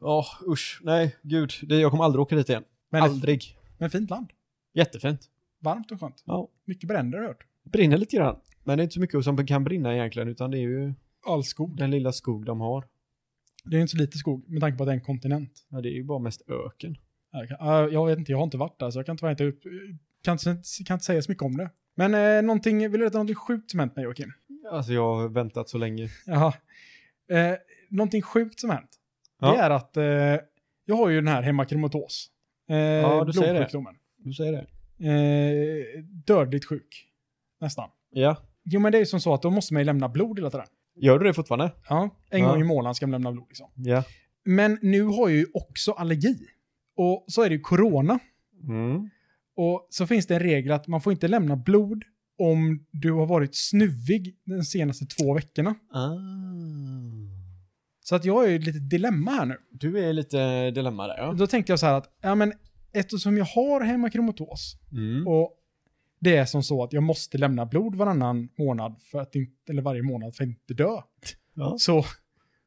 Ja, usch. Nej, gud. Det, jag kommer aldrig åka dit igen. Men, Aldrig. men fint land. Jättefint. Varmt och skönt. Ja. Mycket bränder har jag hört. Brinner lite grann. Men det är inte så mycket som kan brinna egentligen, utan det är ju All skog. den lilla skog de har. Det är inte så lite skog med tanke på att det är en kontinent. Ja, det är ju bara mest öken. Jag, kan, ja, jag vet inte, jag har inte varit där så jag kan tyvärr inte, upp, kan, inte- kan inte säga så mycket om det. Men eh, någonting, vill du veta någonting sjukt som hänt mig Joakim? Alltså jag har väntat så länge. Jaha. Eh, någonting sjukt som hänt, Ja. det är att eh, jag har ju den här hemakromatos. Eh, Ja, du säger det. blodsjukdomen. Du säger det. Eh, dödligt sjuk, nästan. Ja. Jo men det är ju som så att då måste man ju lämna blod hela tiden. Gör du det fortfarande? Ja, en Ja. gång i månaden ska man lämna blod liksom. Ja. Men nu har jag ju också allergi. Och så är det ju corona. Mm. Och så finns det en regel att man får inte lämna blod om du har varit snuvig de senaste två veckorna. Ah. Så att jag har ju ett litet dilemma här nu. Du är lite dilemma där ja. Då tänkte jag så här att, ja men eftersom jag har hemakromatos Mm. och det är som så att jag måste lämna blod varannan månad för att inte, eller varje månad för att inte dö. Ja. Så,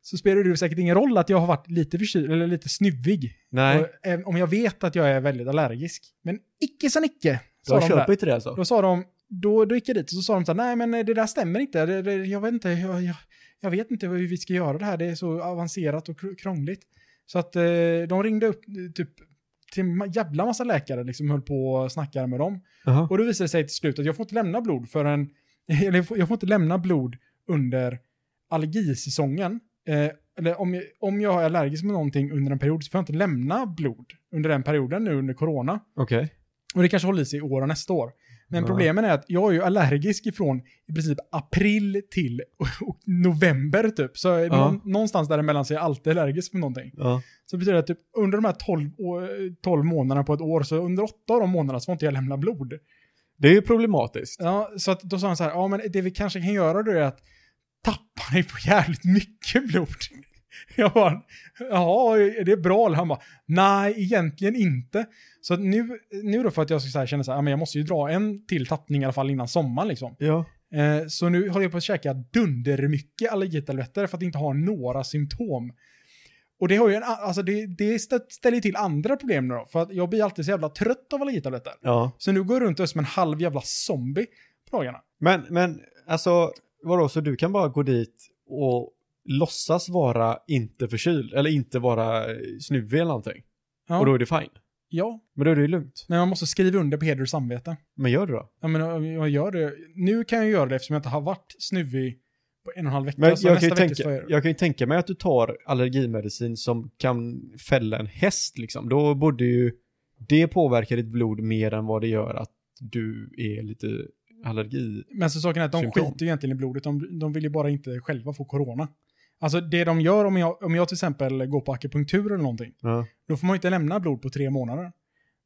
så spelar det säkert ingen roll att jag har varit lite förkyld eller lite snuvig. Nej, Och, även om jag vet att jag är väldigt allergisk. Men icke sa Nicke, sa jag de där. köper inte det alltså. Då sa de, då, då gick jag dit och så sa de så här, nej men eh, det där stämmer inte, det, det, jag vet inte, jag, jag, jag vet inte hur vi ska göra det här, det är så avancerat och kr- krångligt. Så att eh, de ringde upp eh, typ till en ma- jävla massa läkare liksom höll på och snackade med dem. Jaha. Och då visade det sig till slut att jag får inte lämna blod förrän, eller jag får, jag får inte lämna blod under allergisäsongen. Eh, eller om jag, om jag är allergisk mot någonting under en period så får jag inte lämna blod under den perioden nu under corona. Okej. Och det kanske håller i sig i år och nästa år. Men Ja. problemen är att jag är ju allergisk ifrån i princip april till och, och november typ. Så Ja. någon, någonstans däremellan så är jag alltid allergisk för någonting. Ja. Så det betyder att typ under de här 12, å- 12 månaderna på ett år, så under åtta av de månaderna så får inte jag lämna blod. Det är ju problematiskt. Ja, så att då sa han så här, ja men det vi kanske kan göra då är att tappa dig på jävligt mycket blod. Jag bara, ja är det bra? Eller han bara, nej egentligen inte. Så att nu, nu då för att jag ska så här känna så här, ja, men jag måste ju dra en till tappning i alla fall innan sommaren liksom. Ja. Eh, så nu håller jag på att käka dundermycket allergitabletter för att inte ha några symptom. Och det, har ju en, a- alltså det, det stä- ställer ju till andra problem nu då, för att jag blir alltid så jävla trött av allergitabletter. ja. Så nu går jag runt och är som en halv jävla zombie på dagarna. Men, men alltså, vadå, så du kan bara gå dit och låtsas vara inte förkyld, eller inte vara eh, snuvig eller någonting. Ja. Och då är det fine. Ja, Men då är det ju lugnt. men man måste skriva under på heder och samvete. Men gör du då? Ja, men jag- jag gör det. Nu kan jag göra det eftersom jag inte har varit snuvig på en och en halv vecka. Men så jag Alltså, kan, nästa ju vecka tänka, så är det- jag kan ju tänka mig att du tar allergimedicin som kan fälla en häst liksom. Då borde ju det påverka ditt blod mer än vad det gör att du är lite allergi. Men så saken är att de Symptom. skiter ju egentligen i blodet, de, de vill ju bara inte själva få corona. Alltså det de gör om jag, om jag till exempel går på akupunktur eller någonting, Ja. då får man ju inte lämna blod på tre månader.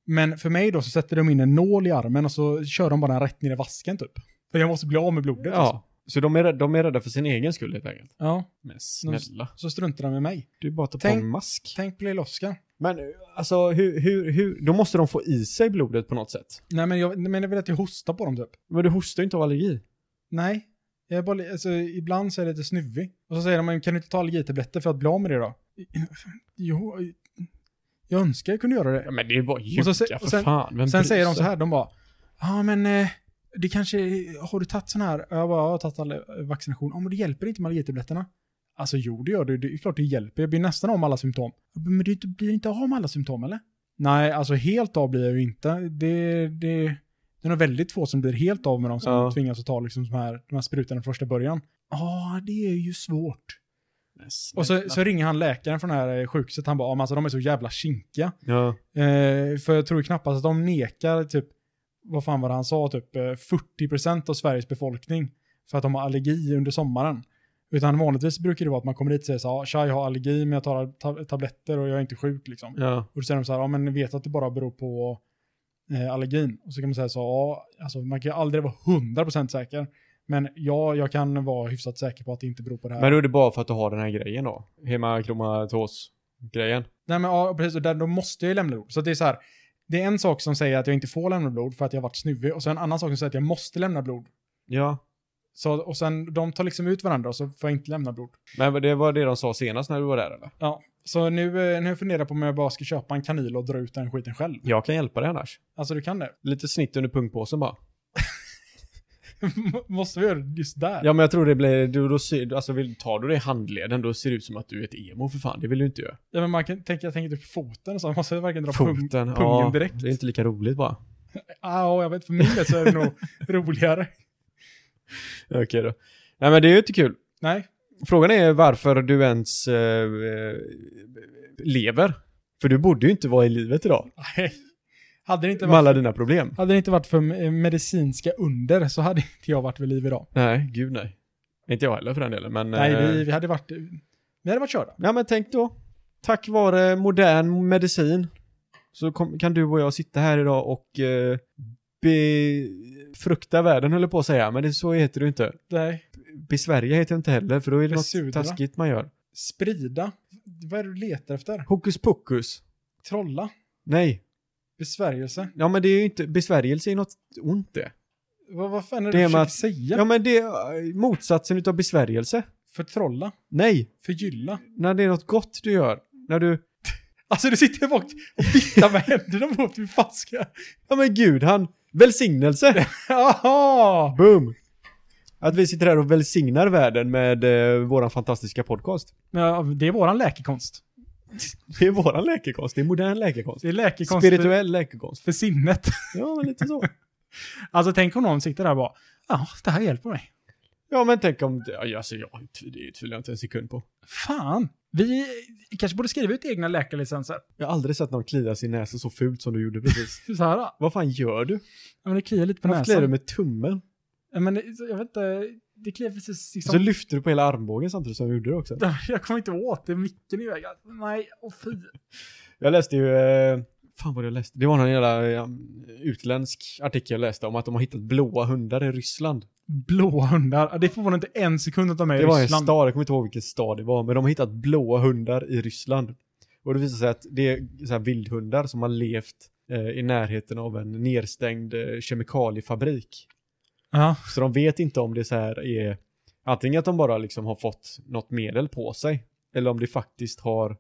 Men för mig då så sätter de in en nål i armen och så kör de bara den rätt ner i vasken typ. För jag måste bli av med blodet. Alltså. ja. Så de är, rädda- de är rädda för sin egen skull helt enkelt. ja. Men snälla, Så struntar de med mig. du bara att ta Tänk- på en mask. Tänk på lilla Oskar. Men alltså, hur, hur, hur, då måste de få i sig blodet på något sätt. Nej men jag, men jag vill att jag hostar på dem typ. Men du hostar ju inte av allergi. Nej. Jag är bara, li- alltså, ibland så är jag lite snuvig. Och så säger de, "Men kan du inte ta allergitabletter för att bli av med det då? Jo, jag önskar jag kunde göra det. Ja, men det är ju bara Och ljuga, så se- och för sen- fan. Vem Sen bryr säger de sig? så här, de bara, ja men eh, det kanske, har du tagit sån här? Och Jag bara, "Ja, jag har tagit all eh, vaccination. Ja men det hjälper inte med allergitabletterna. Alltså jo det gör det, det är klart det hjälper. Jag blir nästan av med alla symptom. Men du inte- blir inte av med alla symptom eller? Nej, alltså helt av blir jag ju inte. Det, det, det är nog väldigt få som blir helt av med dem som Ja. tvingas att ta liksom de här, de här sprutorna från första början. Ja, det är ju svårt. Men Och så, snälla. så ringer han läkaren från det här eh, sjukhuset. Han bara, "Ja, men alltså de är så jävla kinkiga. Ja. Eh, för jag tror knappast att de nekar typ, vad fan var det han sa, typ eh, 40% av Sveriges befolkning för att de har allergi under sommaren. Utan vanligtvis brukar det vara att man kommer dit och säger så här, "Ja, tja jag har allergi men jag tar ta- tabletter och jag är inte sjuk liksom. Ja. Och då säger de så här, ja men vet att det bara beror på eh, allergin. Och så kan man säga så, ja alltså man kan ju aldrig vara 100% säker. Men ja, jag kan vara hyfsat säker på att det inte beror på det här. Men då är det bara för att du har den här grejen då? Hemakromatos-grejen? Nej men ja, precis. Och där, då måste jag ju lämna blod. Så det är så här. Det är en sak som säger att jag inte får lämna blod för att jag har varit snuvig. Och sen en annan sak som säger att jag måste lämna blod. Ja. Så, och sen de tar liksom ut varandra och så får jag inte lämna blod. Men det var det de sa senast när du var där eller? Ja. Så nu, eh, nu funderar jag på om jag bara ska köpa en kanil och dra ut den skiten själv. Jag kan hjälpa dig annars. Alltså du kan det. Lite snitt under pungpåsen bara. måste vi göra det just där? Ja men jag tror det blir, du, då ser, alltså vill, tar du det i handleden då ser det ut som att du är ett emo för fan. Det vill du inte göra. Ja, men man kan tänka, jag tänker typ foten och så. Man måste verkligen dra pung. Foten, pungen ja, direkt. Det är inte lika roligt bara. Ah, jag vet, för min del så är det nog roligare. Okej då. Nej men det är ju inte kul. Nej. Frågan är varför du ens eh, eh, lever. För du borde ju inte vara i livet idag. Nej. Hade det inte Med varit alla dina problem. Hade det inte varit för eh, medicinska under så hade inte jag varit vid liv idag. Nej, gud nej. Inte jag heller för den delen men... Nej, eh, vi, vi hade varit... Vi hade varit körda. Ja men tänk då. Tack vare modern medicin så kom, kan du och jag sitta här idag och eh, befrukta världen höll jag på att säga, men det, så heter det inte. Nej. Besvärja heter det inte heller, för då är det Besudra. något taskigt man gör. Sprida. Vad är det du letar efter? Hokus pokus. Trolla. Nej. Besvärjelse. Ja men det är ju inte, besvärjelse är något ont det. Vad, vad fan är Det det, är du med försöker att- säga? Ja, men det är eh, motsatsen utav besvärjelse. Förtrolla. Nej, Förgylla. när det är något gott du gör. När du... Alltså du sitter bak och viftar med händerna mot min faska. Ja men gud, han... Välsignelse! Jaha! Boom! Att vi sitter här och välsignar världen med eh, våran fantastiska podcast. Ja, det är våran läkekonst. Det är våran läkekonst, det är modern läkekonst. Det är läkekonst för, Spirituell läkekonst. för sinnet. Ja, men lite så. Alltså tänk om någon sitter där och bara, ja, det här hjälper mig. Ja, men tänk om... det- ja, Alltså, ja, det tvivlar jag inte en sekund på. Fan, vi kanske borde skriva ut egna läkarlicenser. Jag har aldrig sett någon klia sin näsa så fult som du gjorde precis. Så här, ja, Vad fan gör du? men det kliar lite på Varför kliar du näsan. med tummen? Ja, Men det- jag vet inte, det kliar precis i Så som... lyfter du på hela armbågen samtidigt som du gjorde det också. Jag kommer inte åt det, micken i vägen. Nej, åh fy. Jag läste ju... Eh, fan vad jag läste? Det var någon jävla eh, utländsk artikel jag läste om att de har hittat blåa hundar i Ryssland. Blåa hundar, Ja, det får inte en sekund att ta med i Det var en Ryssland. stad, jag kommer inte ihåg vilken stad det var, men de har hittat blåa hundar i Ryssland. Och det visar sig att det är så här vildhundar som har levt eh, i närheten av en nerstängd eh, kemikaliefabrik. Ja, Så de vet inte om det så här är antingen att de bara liksom har fått något medel på sig eller om det faktiskt har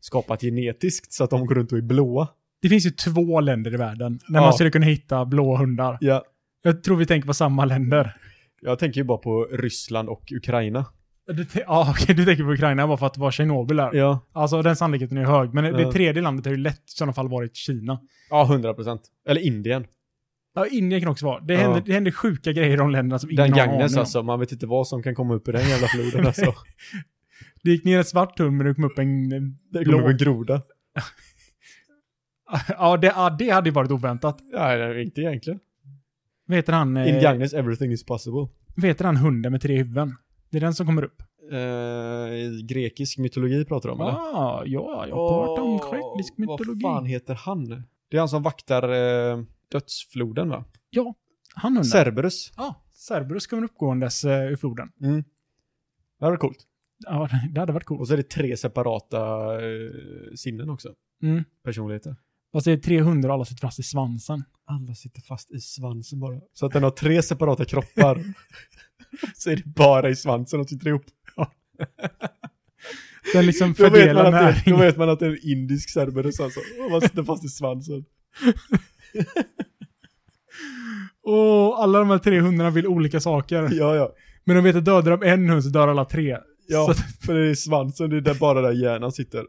skapat genetiskt så att de går runt och är blåa. det finns ju två länder i världen där Ja. man skulle kunna hitta blåa hundar. Ja. Jag tror vi tänker på samma länder. Jag tänker ju bara på Ryssland och Ukraina. Du te- Ja, okej, du tänker på Ukraina bara för att det var Tjernobyl där. Ja, Alltså den sannolikheten är hög, men det- det Ja. tredje landet har ju lätt i sådana fall varit Kina. ja 100%. Eller Indien. Ja, Indien kan också vara. Det Ja. händer, det händer sjuka grejer i de länderna som ingen Den har en aning Gagnef om. alltså, man vet inte vad som kan komma upp i den jävla floden alltså. Det gick ner ett svart tunn men det kom upp en eh, Det blå. kommer en groda. Ja, det, ja, det hade ju varit oväntat. Nej, inte egentligen. Vad heter han? eh, In Gagnef, everything is possible. vad heter han hunden med tre huvuden? Det är den som kommer upp. Eh, I grekisk mytologi pratar de om, eller? Ah, ja, jag pratar om Åh, grekisk mytologi. Vad fan heter han? Det är han som vaktar eh, dödsfloden, va? Han hunden. Cerberus. Ja, Cerberus kommer uppgåendes eh, ur floden. Mm. Det här var coolt. Ja, det hade varit coolt. Och så är det tre separata eh, sinnen också. Mm. Personligheter. Fast det är 300 och alla sitter fast i svansen. Alla sitter fast i svansen bara. Så att den har tre separata kroppar. så är det bara i svansen de sitter ihop. Den liksom Då vet, man fördelar att det, då näring. vet man att det är en indisk cerberus alltså. Och man sitter fast i svansen. Och alla de här 300 vill olika saker. Ja, ja. Men de vet att dödar de en hund så dör alla tre. Ja, Så, för det är svansen, det är där bara där hjärnan sitter.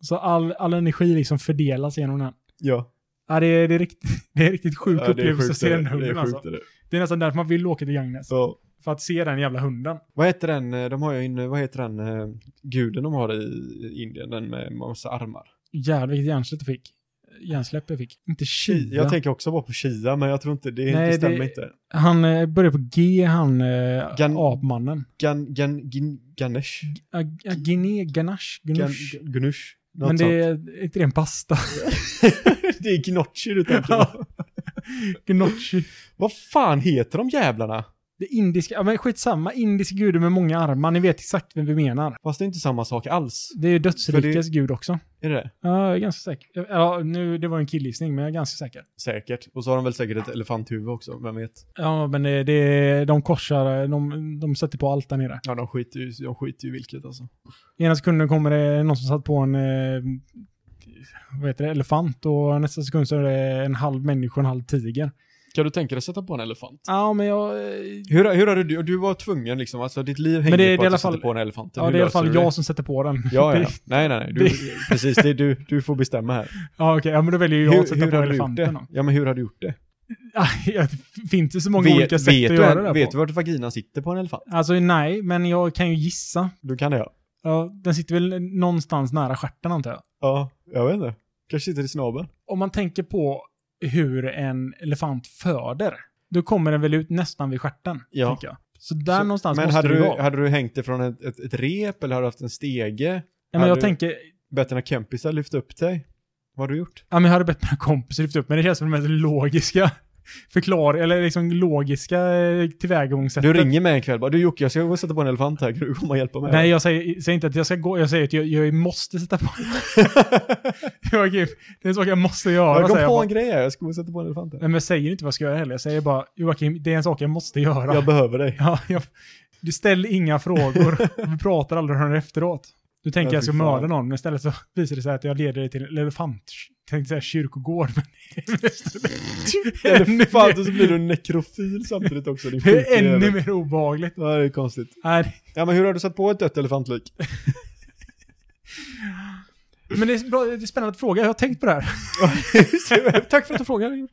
så all, all energi liksom fördelas genom den. Ja. Ja, det är, det är, riktigt, det är riktigt sjuk Ja, det är upplevelse att sjukt. se det är- den det är hunden sjukt, alltså. det är det. Det är nästan därför man vill åka till Gagnef. Så, För att se den jävla hunden. vad heter den, eh, de har ju en, vad heter den, eh, guden de har i i Indien, den med massa armar. Jävlar vilket hjärnsläpp jag fick. Hjärnsläpp jag fick. Inte Kia. Jag tänker också bara på Shia, men jag tror inte, det, Nej, det stämmer det- inte. Han eh, börjar på G, han eh, Gan- apmannen. Gan, gan, gin, ganesh? Ag- ag- Guinea, ganache, Gan, gnush. gnush? Något Men det sånt. är är inte det en pasta. det är gnocchi du tänker på. Ja. Gnocchi. Vad fan heter de jävlarna? Det indiska, ja men skitsamma, indisk gud med många armar, ni vet exakt vem vi menar. Fast det är inte samma sak alls. Det är ju dödsrikes gud också. Är det det? Ja, jag är ganska säker. Ja, nu, det var en killgissning, men jag är ganska säker. Säkert. Och så har de väl säkert ett elefanthuvud också, vem vet? Ja, men eh, det, det, de korsar, eh, de, de sätter på allt där nere. Ja, de skiter ju, de skiter ju vilket alltså. Ena sekunden kommer det någon som satt på en eh, vad heter det, elefant och nästa sekund så är det en halv människa och en halv tiger. Kan du tänka dig att sätta på en elefant? Ja, men jag... eh, Hur, hur hade du, du var tvungen liksom, alltså ditt liv hängde det- det är på i att alla du sätter fall- på en elefant. Ja, Hur det är i alla löser fall du jag det? som sätter på den. Ja, ja, Det- ja. Nej, nej, nej. Du, precis, det är du, du får bestämma här. ja okej. Ja, men då väljer ju jag att Hur, sätta hur på hade du gjort elefanten. det? då. Ja, men hur har du gjort det? Aj, Det finns ju så många vet, olika sätt vet att du, göra en- det här Vet på. du vart vaginan sitter på en elefant? Alltså nej, men jag kan ju gissa. Du kan det, ja. Ja, den sitter väl någonstans nära stjärten antar jag. Ja, jag vet inte. Kanske sitter i snabeln. Om man tänker på hur en elefant föder, då kommer den väl ut nästan vid stjärten. Ja. Tänker jag. Så där Så- någonstans Men måste hade det ju du, vara. hade du hängt det från ett, ett, ett rep eller har du haft en stege? Ja, men jag hade- tänker, Bett dina kompisar lyft upp dig? Vad har du gjort? ja, men jag hade bett mina kompisar lyfta upp men det känns som det mest logiska förklar eller liksom logiska eh, tillvägagångssättet. Du ringer mig en kväll bara, du Jocke, jag ska gå och sätta på en elefant här, kan du komma och hjälpa mig? Nej, jag säger, säger inte att jag ska gå, jag säger att jag, jag måste sätta på jag, Det är en sak jag måste göra, jag kom säger jag. på bara. en grej här, jag ska gå och sätta på en elefant här. Nej, men jag säger inte vad jag ska göra heller. Jag säger bara, Joakim, det är en sak jag måste göra. Jag behöver dig. Ja, jag, du ställer inga frågor. Vi pratar aldrig om det efteråt. Du tänker Ja, jag ska fy fan. mörda någon, men istället så visar det sig att jag leder dig till en elefant. Tänkte säga kyrkogård, men... Ännu Elefant och mer- så blir du nekrofil samtidigt också. Din Det sjuka är ännu jävel. mer obehagligt. Ja, det är konstigt. Nej, Ja, men hur har du satt på ett dött elefantlik? men det är, bra, det är spännande att fråga, jag har tänkt på det här. Tack för att du frågade.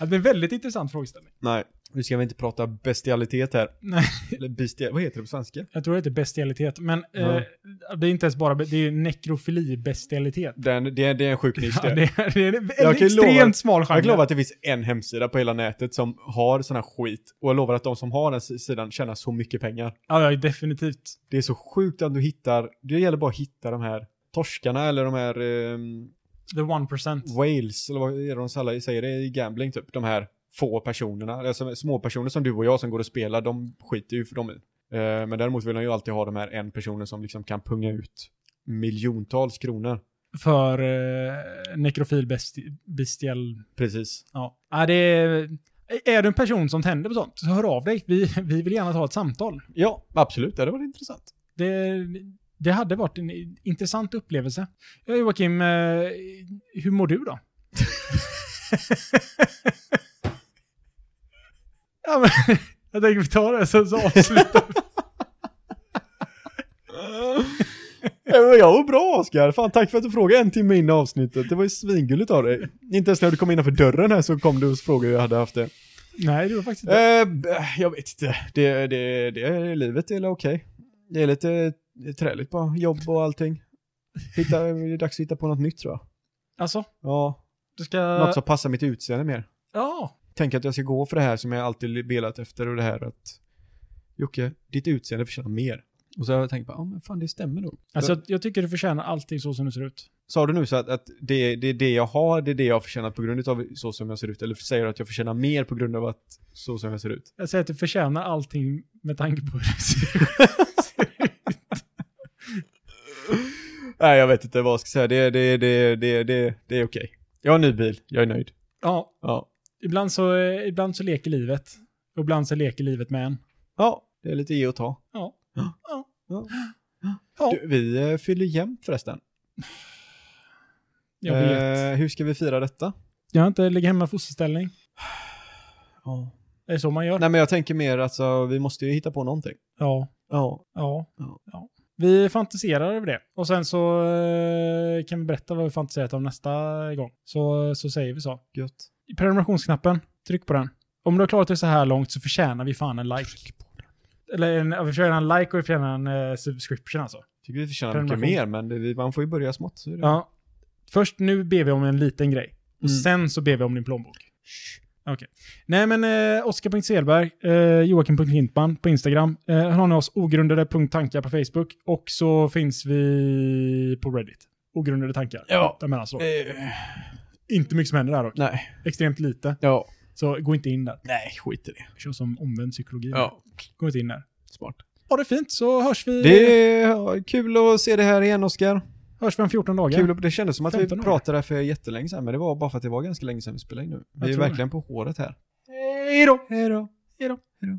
Ja, Det är en väldigt intressant frågeställning. Nej, nu ska vi inte prata bestialitet här. Nej. Eller bestial, vad heter det på svenska? Jag tror det heter bestialitet, men Ja. eh, det är inte ens bara, det är nekrofili-bestialitet. Den, det, är, det är en sjuk nisch Ja, det. det, är, det är en kan ju extremt lova- smal genre. Jag lovar att det finns en hemsida på hela nätet som har sån här skit. Och jag lovar att de som har den si- sidan tjänar så mycket pengar. Ja, ja, definitivt. Det är så sjukt att du hittar, det gäller bara att hitta de här torskarna eller de här ehm, The one percent. Wales, eller vad är det de säger, säger det i gambling typ? De här få personerna, alltså små personer som du och jag som går och spelar, de skiter ju för dem i. Eh, Men däremot vill de ju alltid ha de här en personen som liksom kan punga ut miljontals kronor. För eh, nekrofil besti- bestial... Precis. Ja. ja det är, är du en person som tänder på sånt, så hör av dig. Vi, vi vill gärna ta ett samtal. Ja, absolut. Det hade varit intressant. Det, det hade varit en intressant upplevelse. Ja, Joakim, eh, hur mår du då? ja, men, jag tänker vi tar det så, så avslutar vi. Eh, men jag var bra Oskar. Fan tack för att du frågade en timme innan avsnittet. Det var ju svingulligt av dig. Inte ens när du kom innanför dörren här så kom du och frågade hur jag hade haft det. Nej, det var faktiskt inte. Eh, b- jag vet inte. Det, det, det är livet är väl okej. Det är lite träligt bara. Jobb och allting. Hitta, det är dags att hitta på något nytt tror jag. Eh. Alltså, Ja, du ska... något som passar mitt utseende mer. Ja. Tänk att jag ska gå för det här som jag alltid velat efter och det här att Jocke, ditt utseende förtjänar mer. Och så har jag tänkt bara, ja men fan det stämmer nog. Alltså, jag, jag tycker du förtjänar allting så som du ser ut. Sa du nu så att, att det, det är det jag har, det är det jag förtjänar på grund av så som jag ser ut? Eller säger du att jag förtjänar mer på grund av att så som jag ser ut? Jag säger att du förtjänar allting med tanke på hur du ser ut. Nej, jag vet inte vad jag ska säga. Det, det, det, det, det, det är okej. Jag har en ny bil, jag är nöjd. Ja, Ja. ibland så, eh, ibland så leker livet. Och ibland så leker livet med en. Ja, det är lite ge och ta. Ja. Du, vi eh, fyller jämnt förresten. Jag vet. Eh, hur ska vi fira detta? Jag har inte ligga hemma i fosterställning. Ja. Det är så man gör. Nej, men jag tänker mer alltså, vi måste ju hitta på någonting. Ja. Ja. Ja. Ja. ja. Vi fantiserar över det. Och sen så eh, kan vi berätta vad vi fantiserat om nästa gång. Så, så säger vi så. Gött. I prenumerationsknappen, tryck på den. Om du har klarat dig så här långt så förtjänar vi fan en like. Eller en, ja, vi förtjänar en like och vi förtjänar en eh, subscription alltså. Tycker vi förtjänar mycket mer, Prenumeration. men det, vi- man får ju börja smått. Så är det. Ja. Först nu ber vi om en liten grej. Och Mm. sen så ber vi om din plånbok. Okej. Nej men eh, Oskar.Selberg, eh, Joakim.Hintman på Instagram. Eh, här har ni oss ogrundade.tankar på Facebook. Och så finns vi på Reddit. Ogrundade tankar. Ja. Jag menar så. Eh, Inte mycket som händer där dock. nej. Extremt lite. Ja. Så gå inte in där. Nej, skit i det. Kör som omvänd psykologi. Ja. Gå inte in där. Smart. Ha det fint så hörs vi, Det är kul att se det här igen, Oskar. hörs vi om 14 dagar. Kul, att- det kändes som att vi 15 år. pratade här för jättelänge sedan, men det var bara för att det var ganska länge sedan vi spelade in nu. Vi är tror det. verkligen på håret här. Hej då! Hej då!